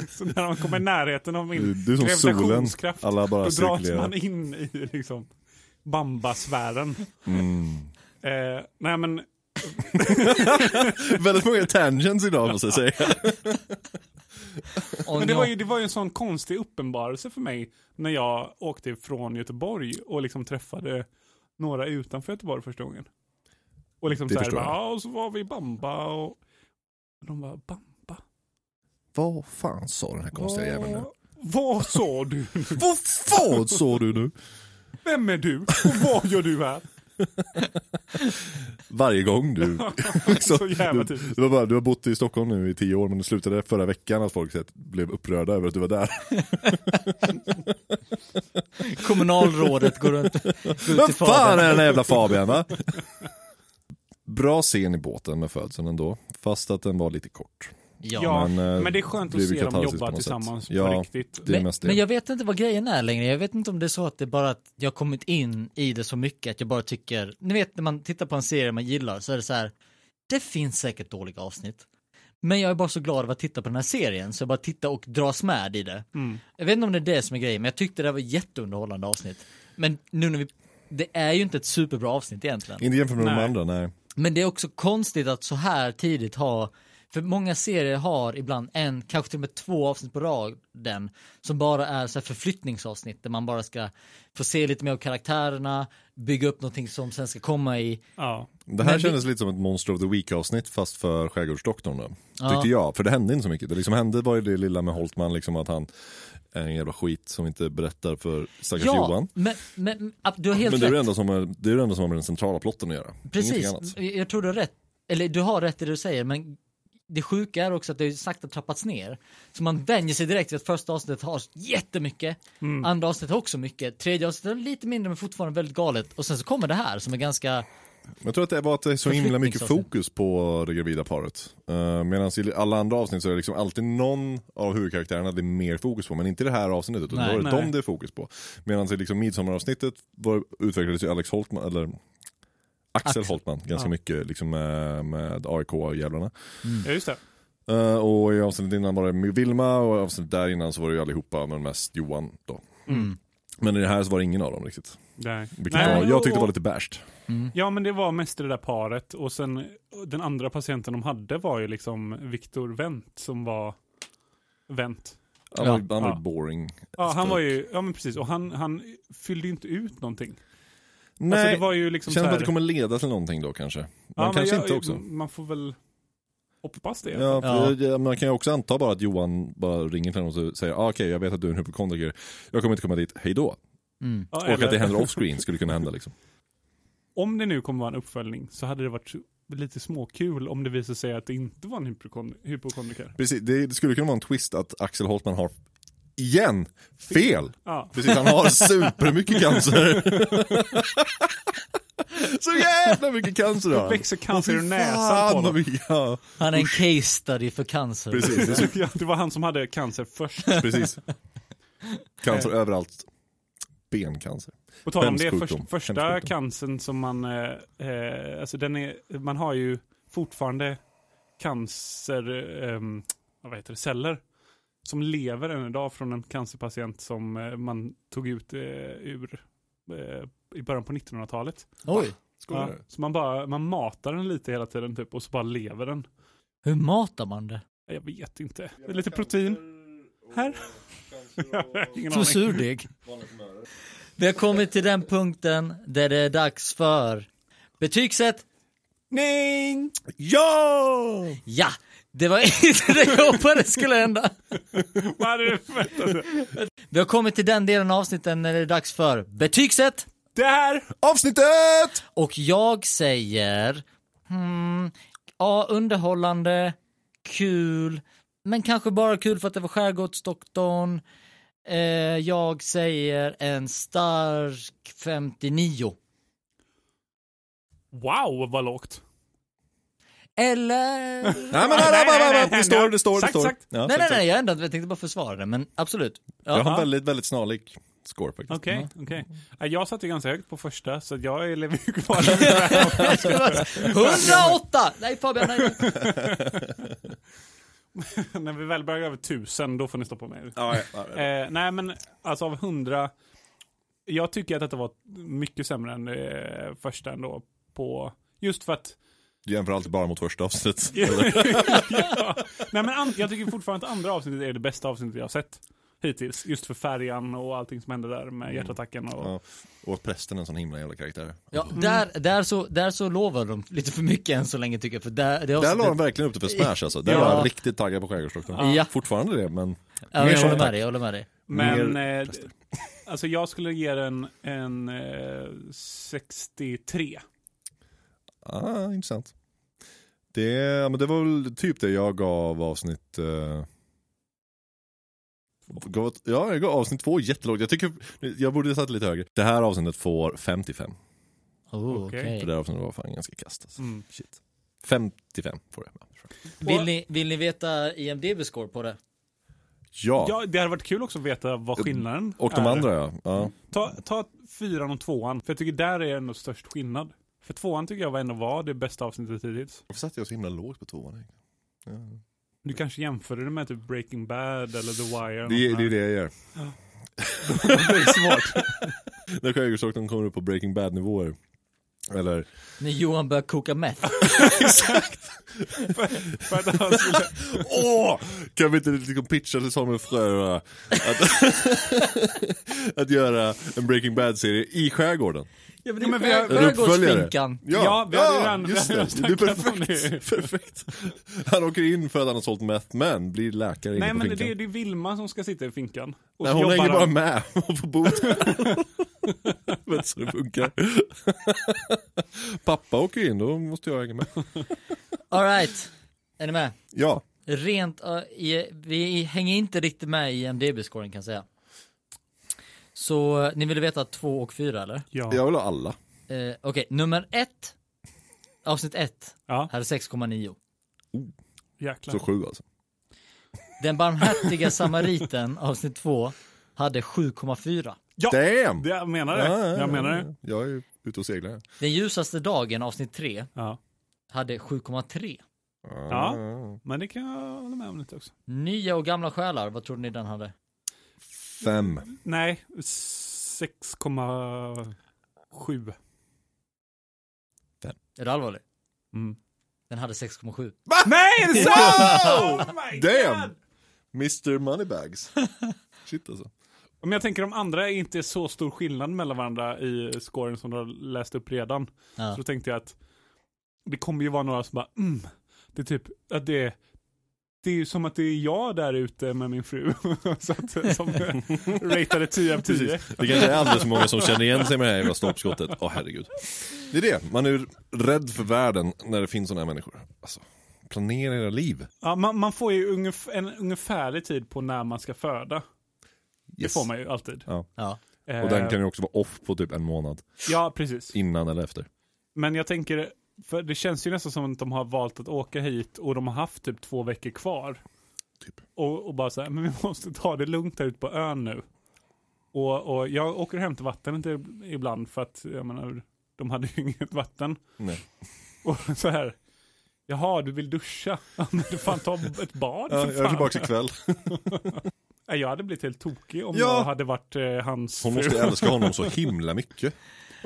S2: så när man kommer i närheten av min
S3: Du är som solen.
S2: gravitationskraft,
S3: Alla bara
S2: då dras man
S3: cirkulerar.
S2: in i liksom bambasfären.
S3: Mm.
S2: Eh, nej men,
S3: Väldigt många tangents idag måste jag säga.
S1: Och
S2: men det,
S1: nå-
S2: var ju, det var ju en sån konstig uppenbarelse för mig när jag åkte från Göteborg och liksom träffade några utanför Göteborg första gången. Och liksom
S3: Det
S2: så här,
S3: förstår
S2: bara,
S3: jag.
S2: ja och så var vi i bamba och och de bara, bamba?
S3: (laughs) Vad fan sa den här konstiga jäveln nu?
S2: Vad- Vad sa du?
S3: (laughs) Vad fan sa du nu?
S2: Vem är du? Och vad gör du här?
S3: Varje gång du...
S2: (laughs)
S3: Alltså,
S2: Så jävla
S3: du,
S2: typiskt.
S3: det var bara, du har bott i Stockholm nu i tio år men det slutade förra veckan att folk så att, blev upprörda över att du var där.
S1: Kommunalrådet går runt, går ut
S3: Vad
S1: till
S3: fan är
S1: fadern.
S3: den
S1: (laughs)
S3: här jävla Fabian va? Bra scen i båten med födseln ändå, fast att den var lite kort.
S1: Ja.
S2: Ja,
S3: men, eh,
S2: men det är skönt att
S3: blivit
S2: se dem
S3: katarsis på
S2: jobba
S3: något sätt.
S2: tillsammans på
S3: Ja.
S2: riktigt.
S3: Det är
S1: Men,
S3: mest det.
S1: men jag vet inte vad grejen är längre. Jag vet inte om det är så att det är bara att jag har kommit in i det så mycket att jag bara tycker, ni vet när man tittar på en serie man gillar så är det så här, det finns säkert dåliga avsnitt. Men jag är bara så glad över att titta på den här serien så jag bara tittar och dras med i det. Jag vet inte om det är det som är grejen, men jag tyckte det var ett jätteunderhållande avsnitt. Men nu när vi, det är ju inte ett superbra avsnitt egentligen.
S3: Inte jämfört med de
S2: Nej.
S3: andra, nej.
S1: Men det är också konstigt att så här tidigt ha, för många serier har ibland en, kanske till och med två avsnitt på raden som bara är så här förflyttningsavsnitt där man bara ska få se lite mer av karaktärerna, bygga upp någonting som sen ska komma i,
S2: Ja.
S3: Det här
S1: Men vi-
S3: kändes lite som ett Monster of the Week avsnitt fast för Skärgårdsdoktorn då.
S1: Ja.
S3: Tyckte jag, för det hände inte så mycket. Det liksom hände var ju det lilla med Holtman liksom att han är en jävla skit som inte berättar för stackars Johan.
S1: men, men ab- du har helt
S3: Men det är, det,
S1: rätt.
S3: enda som är, det är det enda som har med den centrala plotten att göra. Ingenting
S1: Precis,
S3: annat.
S1: jag tror du har rätt, eller du har rätt i det du säger, men det sjuka är också att det har ju sakta trappats ner. Så man vänjer sig direkt vid att första avsnittet har jättemycket, andra avsnittet har också mycket, tredje avsnittet är lite mindre men fortfarande väldigt galet och sen så kommer det här som är ganska
S3: Men jag tror att det var att det är så himla mycket
S1: Förflyttningsavsnitt.
S3: fokus på det gravida paret. Uh, Medan i alla andra avsnitt så är det liksom alltid någon av huvudkaraktärerna det är mer fokus på. Men inte i det här avsnittet, utan
S1: Nej.
S3: då är det
S2: Nej.
S3: dem det är fokus på. Medan i liksom midsommaravsnittet var, utvecklades ju Alex Holtman, eller Axel,
S1: Axel.
S3: Holtman ganska
S2: Ja.
S3: mycket liksom med, med AIK-jävlarna. Mm.
S2: ja, just det.
S3: Eh, och i avsnittet innan var det Vilma och i avsnittet där innan så var det ju allihopa men mest Johan då.
S2: Mm.
S3: Men i det här så var det ingen av dem riktigt.
S2: Nej.
S3: Vilket
S2: Nej,
S3: var, jag tyckte
S2: och-
S3: var lite bärst.
S2: Ja, men det var mest det där paret och sen den andra patienten de hade var ju liksom Viktor Wendt som var Wendt.
S3: Han
S1: Ja.
S3: var, han var
S2: Ja.
S3: boring.
S2: Ja, han var ju, ja men precis, och han, han fyllde ju inte ut någonting.
S3: Nej.
S2: Alltså, det var ju liksom
S3: Känns
S2: så
S3: som
S2: här,
S3: att det kommer leda till någonting då kanske. Man
S2: men
S3: kanske
S2: jag-
S3: inte också.
S2: Man får väl hoppas det.
S3: Ja,
S1: Ja.
S3: för, ja, Man kan ju också anta bara att Johan bara ringer till honom och säger ah, okej jag vet att du är en hypokondriker, jag kommer inte komma dit, hej då.
S1: Mm.
S2: Ja,
S3: Och
S2: eller-
S3: att det händer offscreen skulle kunna hända liksom.
S2: Om det nu kommer vara en uppföljning så hade det varit så- lite småkul om det visade sig att det inte var en hypokon- hypokondriker.
S3: Precis, det, det skulle kunna vara en twist att Axel Holtman har, igen, fel.
S2: Ja.
S3: Precis, han har
S2: (laughs)
S3: supermycket cancer. Så jävla mycket cancer har han.
S2: Växer cancer ur
S3: Fy
S2: näsan
S3: fan,
S2: på
S3: vad
S2: honom.
S3: mycket- Ja,
S1: Han är en case study för cancer.
S3: precis, det
S2: (laughs)
S3: är
S2: Ja, det var han som hade cancer först.
S3: så- precis. Eh. Cancer överallt. Bencancer.
S2: På tal om
S3: Hemsk
S2: det,
S3: sjukdom.
S2: först,
S3: Hemsk
S2: första
S3: sjukdom.
S2: cancern som man, eh, eh, alltså den är, man har ju fortfarande cancer, ehm, vad heter det, celler som lever än idag från en cancerpatient som eh, man tog ut eh, ur eh, i början på 1900-talet.
S1: Oj,
S3: Skojar
S2: Ja,
S3: du?
S2: så man bara, man matar den lite hela tiden typ och så bara lever den.
S1: hur matar man det?
S2: Jag vet inte. Lite protein. Här. (laughs) Jag har ingen
S1: Som
S2: (laughs) aning.
S1: surdeg. Vi har kommit till den punkten där det är dags för betygsätt.
S2: Nej!
S3: Ja!
S1: Ja, det var inte det jag hoppades skulle hända.
S2: Vad hade du förväntat dig?
S1: Vi har kommit till den delen av avsnittet när det är dags för betygsätt.
S2: Det här!
S3: Avsnittet!
S1: Och jag säger hmm, ja, underhållande, kul, men kanske bara kul för att det var Skärgårdsdoktorn. Eh, jag säger en stark 59.
S2: Wow, vad lågt.
S1: Eller?
S3: Nej men nej, nej, nej, nej, det står, det står, det
S2: Sagt,
S3: står.
S2: sagt.
S3: Ja,
S1: nej, nej,
S3: exakt.
S1: nej, jag, ändå, jag tänkte bara försvara det, men absolut. Ja. (laughs)
S3: Jag har en väldigt, väldigt snarlik score faktiskt.
S2: Okej, okej. Ja, Jag satte ganska högt på första, så jag lever ju
S3: (laughs)
S2: kvar där.
S1: 108! Nej Fabian, nej, nej.
S2: När vi väl börjar över tusen, då får ni stoppa mig.
S3: Ja, ja, ja, ja.
S2: Eh, nej, men alltså av hundra. Jag tycker att detta var mycket sämre än eh, första ändå. På, just för
S3: (laughs)
S2: att...
S3: Du jämför alltid bara mot första avsnittet.
S2: ja. Nej, men an, jag tycker fortfarande att andra avsnittet är det bästa avsnittet jag har sett hittills. Just för färjan och allting som hände där med hjärtattacken. Och,
S3: Mm. Ja. Och att prästen är en sån himla jävla karaktär.
S1: Ja, där, där, så, där så lovar de lite för mycket än så länge tycker jag, för där, det
S3: Där la de verkligen upp det för smash alltså. Där
S1: Ja.
S3: var han riktigt taggad på Skärgårdsdoktorn.
S1: Ja.
S3: Fortfarande det, men
S1: ja,
S3: mer
S1: jag
S3: som
S1: håller
S3: ett
S1: med dig, jag håller med dig.
S2: Men
S3: Mer
S2: eh, alltså jag skulle ge den en eh, 63.
S3: ah, intressant. Det, ja, men det var väl typ det jag gav avsnitt... Eh, gav, ett- ja, jag gav avsnitt två jättelågt. Jag tycker, jag borde ha satt lite högre. Det här avsnittet får 55.
S1: Oh,
S2: Okej.
S1: okej.
S3: För det här avsnittet var fan ganska kast alltså.
S2: Mm.
S3: Shit. 55 får det.
S1: Vill, ni, vill ni veta IMDB-score på det?
S3: Ja.
S2: Ja, det hade varit kul också att veta vad skillnaden
S3: Och de
S2: är.
S3: andra ja. ja.
S2: Ta, ta fyran och tvåan, för jag tycker där är ändå störst skillnad. För tvåan tycker jag var ändå var det bästa avsnittet hittills.
S3: Varför satt jag så himla lågt på tvåan egentligen? Ja.
S2: Du kanske jämförde det med typ Breaking Bad eller The Wire.
S3: Det, är- det är det jag gör. (laughs)
S2: det är svårt.
S3: När Skärgårdsdoktorn kommer upp på Breaking Bad nivåer. Eller
S1: När Johan börjar koka meth.
S2: (laughs) För
S3: (laughs)
S2: att han skulle,
S3: Åh! Kan vi inte liksom pitcha det som en frö? va? Att, (laughs) att göra en Breaking Bad-serie i skärgården.
S1: Ja, men
S2: Ja, men vi har-
S3: En uppföljare.
S1: skärgårdsfinkan.
S2: Ja, vi hade ju redan- vi
S3: just
S2: hade
S3: det.
S2: redan
S3: Det är
S2: snackat om
S3: perfekt. (laughs) perfekt. Han åker in för att han har sålt meth, men blir läkare
S2: nej
S3: inne på
S2: men det,
S3: finkan.
S2: är- det är Vilma som ska sitta i finkan. Och
S3: Nej,
S2: så
S3: hon
S2: jobbar
S3: hänger bara
S2: han.
S3: med (laughs) och får bot. Vet så det funkar. (laughs) Pappa åker in, då måste jag hänga med.
S1: Alright, är ni med?
S3: Ja,
S1: Rent, eh, i, vi hänger inte riktigt med i IMDB-scoren kan jag säga. Så eh, ni ville veta två och fyra eller?
S2: Ja.
S3: jag vill ha alla.
S1: Eh, Okej, nummer ett, avsnitt ett,
S2: ja,
S1: här är 6,9.
S2: jäklar.
S3: Så sju alltså.
S1: Den barmhärtiga
S3: (laughs)
S1: samariten, avsnitt två, hade 7,4.
S3: Damn!
S2: Det, jag menar
S3: Ja, ja,
S2: det.
S3: ja,
S2: Jag menar det.
S3: ja. Jag är ju ute och seglar. här.
S1: Den ljusaste dagen, avsnitt tre,
S2: Ja.
S1: hade 7,3.
S2: Ja.
S3: Ah.
S2: Men det kan jag hålla med om lite också.
S1: Nya och gamla själar, vad trodde ni den hade?
S3: Fem.
S2: Nej, 6,7.
S1: Är du allvarlig?
S2: Mm.
S1: Den hade 6,7.
S2: Nej, är det
S3: (laughs)
S2: sant? Oh my
S3: Damn!
S2: God!
S3: Mr (laughs) Moneybags. Shit alltså.
S2: Men jag tänker de andra är inte så stor skillnad mellan varandra i scoren som du har läst upp redan.
S1: Ja.
S2: Så tänkte jag att det kommer ju vara några som bara mm, det är typ att det är det är ju som att det är jag där ute med min fru (laughs) så att,
S3: (laughs)
S2: som ratade 10 av 10.
S3: Precis. Det kanske är alldeles för många som känner igen sig med det här jävla stolpskottet. Åh herregud. Det är det, man är ju rädd för världen när det finns sådana här människor. Alltså, planera era liv.
S2: Ja, man, man får ju ungef en ungefärlig tid på när man ska föda. Det
S3: Yes.
S2: får man ju alltid. Eh,
S1: Ja.
S3: Och den kan ju också vara off på typ en månad
S2: Ja, precis.
S3: innan eller efter.
S2: Men jag tänker, för det känns ju nästan som att de har valt att åka hit och de har haft typ två veckor kvar.
S3: Typ.
S2: Och, och bara så här, men vi måste ta det lugnt där ute på ön nu. Och, och jag åker hem till vattnet i- ibland för att, jag menar, de hade ju (laughs) inget vatten.
S3: Nej.
S2: Och så här, jaha, du vill duscha? Ja, men du fan ta ett bad
S3: Ja,
S2: för
S3: jag är
S2: fan.
S3: tillbaka ikväll.
S2: Nej, Jag hade blivit helt tokig om
S3: Ja.
S2: jag hade varit eh, hans
S3: (laughs) Hon
S2: fru.
S3: måste älska honom så himla mycket.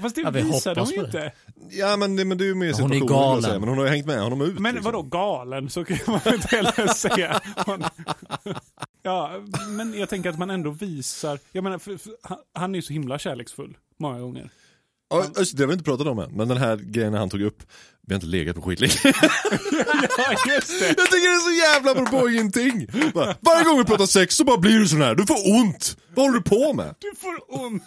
S2: Fast det
S1: Ja, vi
S2: visade
S1: hoppas
S2: hon ju
S1: på det.
S2: inte.
S3: Ja men det, men det är ju mer
S1: Ja, hon är
S3: situationen. vill jag
S1: galen.
S3: säga. Men hon har ju hängt med honom ut. liksom.
S2: Men vadå galen så kan man väl inte heller säga. Man, ja, men jag tänker att man ändå visar. Jag menar, för, för, han- han är ju så himla kärleksfull många gånger.
S3: Ja, just det har vi inte pratat om än. Men den här grejen han tog upp. Vi har inte legat på skitlänge.
S2: (laughs) Ja, just det.
S3: Jag tycker det är så jävla apropå ingenting. Bara, Varje gång vi pratar sex så bara blir du sån här, du får ont. Vad håller du på med?
S2: Du får ont.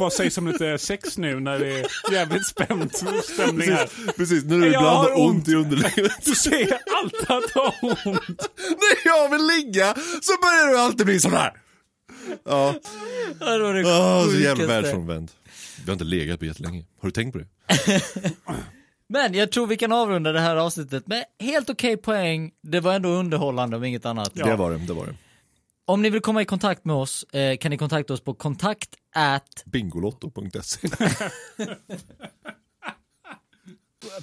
S2: Vad sägs om lite sex nu när det är jävligt spänt stämning här?
S3: Precis, precis, nu är det
S2: Jag
S3: ibland
S2: har
S3: ont i underlivet. (laughs)
S2: Du säger alltid att du har ont.
S3: När jag vill ligga så börjar du alltid bli sån här. Ja,
S1: Det var det
S3: oh, så jävla
S1: sjukaste.
S3: världsfrånvänd. Vi har inte legat på jättelänge. Har du tänkt på det?
S1: Men jag tror vi kan avrunda det här avsnittet med helt okej poäng. Det var ändå underhållande om inget annat.
S2: Ja.
S3: Det var det, det var det.
S1: Om ni vill komma i kontakt med oss eh, kan ni kontakta oss på kontakt at
S3: Bingolotto.se.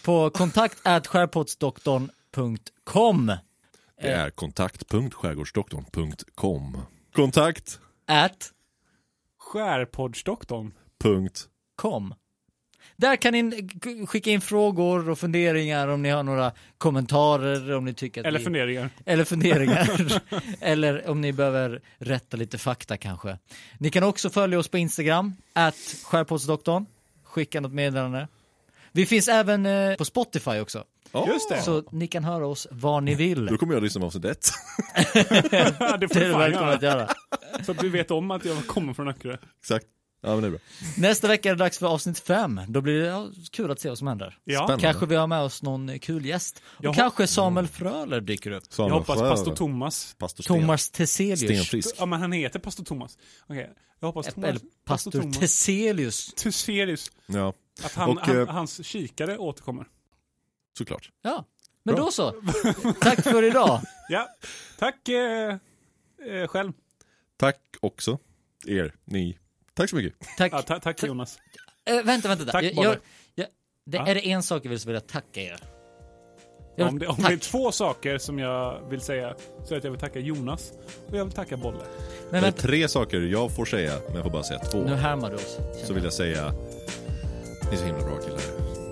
S1: på kontakt at skärpottsdoktorn.com
S2: Eh.
S3: Det är kontakt.skärgårdsdoktorn.com. Kontakt.
S1: at
S2: Skärpoddsdoktorn.
S3: Punkt.
S1: kom. Där kan ni k- skicka in frågor och funderingar om ni har några kommentarer om ni tycker att
S2: Eller
S1: vi...
S2: funderingar.
S1: eller funderingar.
S2: (laughs)
S1: eller om ni behöver rätta lite fakta kanske. Ni kan också följa oss på Instagram, at skärpoddsdoktorn. Skicka något meddelande. Vi finns även eh, på Spotify också,
S3: Ja.
S2: Just det.
S1: så ni kan höra oss var ni vill.
S3: Då kommer jag att lyssna på avsnitt ett. (laughs)
S2: det får
S1: (laughs) Det är
S2: du
S1: du
S2: fan
S1: välkommen att
S2: göra.
S1: göra.
S2: Så att du vet om att jag kommer från Öckerö.
S3: Exakt. Ja men det är bra.
S1: Nästa vecka är det dags för avsnitt fem. Då blir det ja, kul att se vad som händer.
S2: Ja.
S3: Spännande.
S1: Kanske vi har med oss någon kul gäst. Och
S2: Jag
S1: kanske Samuel Fröler dyker upp.
S3: Så
S2: Jag
S3: han
S2: hoppas
S3: skär-
S2: pastor Thomas.
S3: Pastor Sten.
S1: Thomas Teselius.
S3: Stenfrisk.
S2: Ja men han heter pastor Thomas. Okej. Jag hoppas
S1: Eller
S2: Thomas.
S1: pastor
S2: Thomas.
S1: Teselius.
S2: Tuselius.
S3: Ja,
S2: Att han,
S3: Och,
S2: han,
S3: eh,
S2: hans kikare återkommer.
S3: såklart.
S1: Ja, men
S3: Bra.
S1: då så. (laughs) Tack för idag.
S2: Ja. Tack eh, eh, själv.
S3: Tack också. Er, ni. Tack så mycket.
S1: Tack.
S2: Ja, ta, tack Jonas.
S1: eh, vänta, vänta.
S2: Tack,
S1: jag,
S2: Bolle.
S1: jag, jag, det
S2: Ja.
S1: är det en sak jag vill så vill jag tacka er. Jag vill,
S2: Om, det, om det är
S1: tack.
S2: två saker som jag vill säga så är att jag vill tacka Jonas och jag vill tacka Bolle.
S1: Men
S3: Det är
S1: vänta,
S3: tre saker jag får säga, men jag får bara säga två.
S1: nu härmar du oss.
S3: Så vill jag säga, ni är så himla bra killar.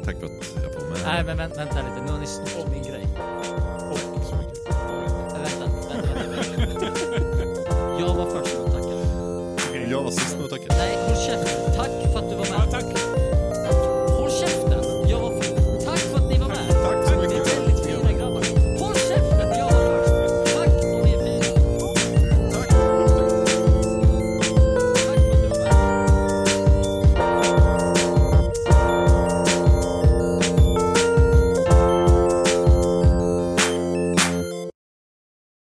S3: Tack för att jag får med
S1: Nej, men vänta, vänta lite. Nu har ni snott min grej.
S3: Tack så mycket.
S1: Vänta, vänta, vänta. vänta. Jag var först med att tacka.
S3: Jag var sist med att tacka.
S1: Nej, håll käften.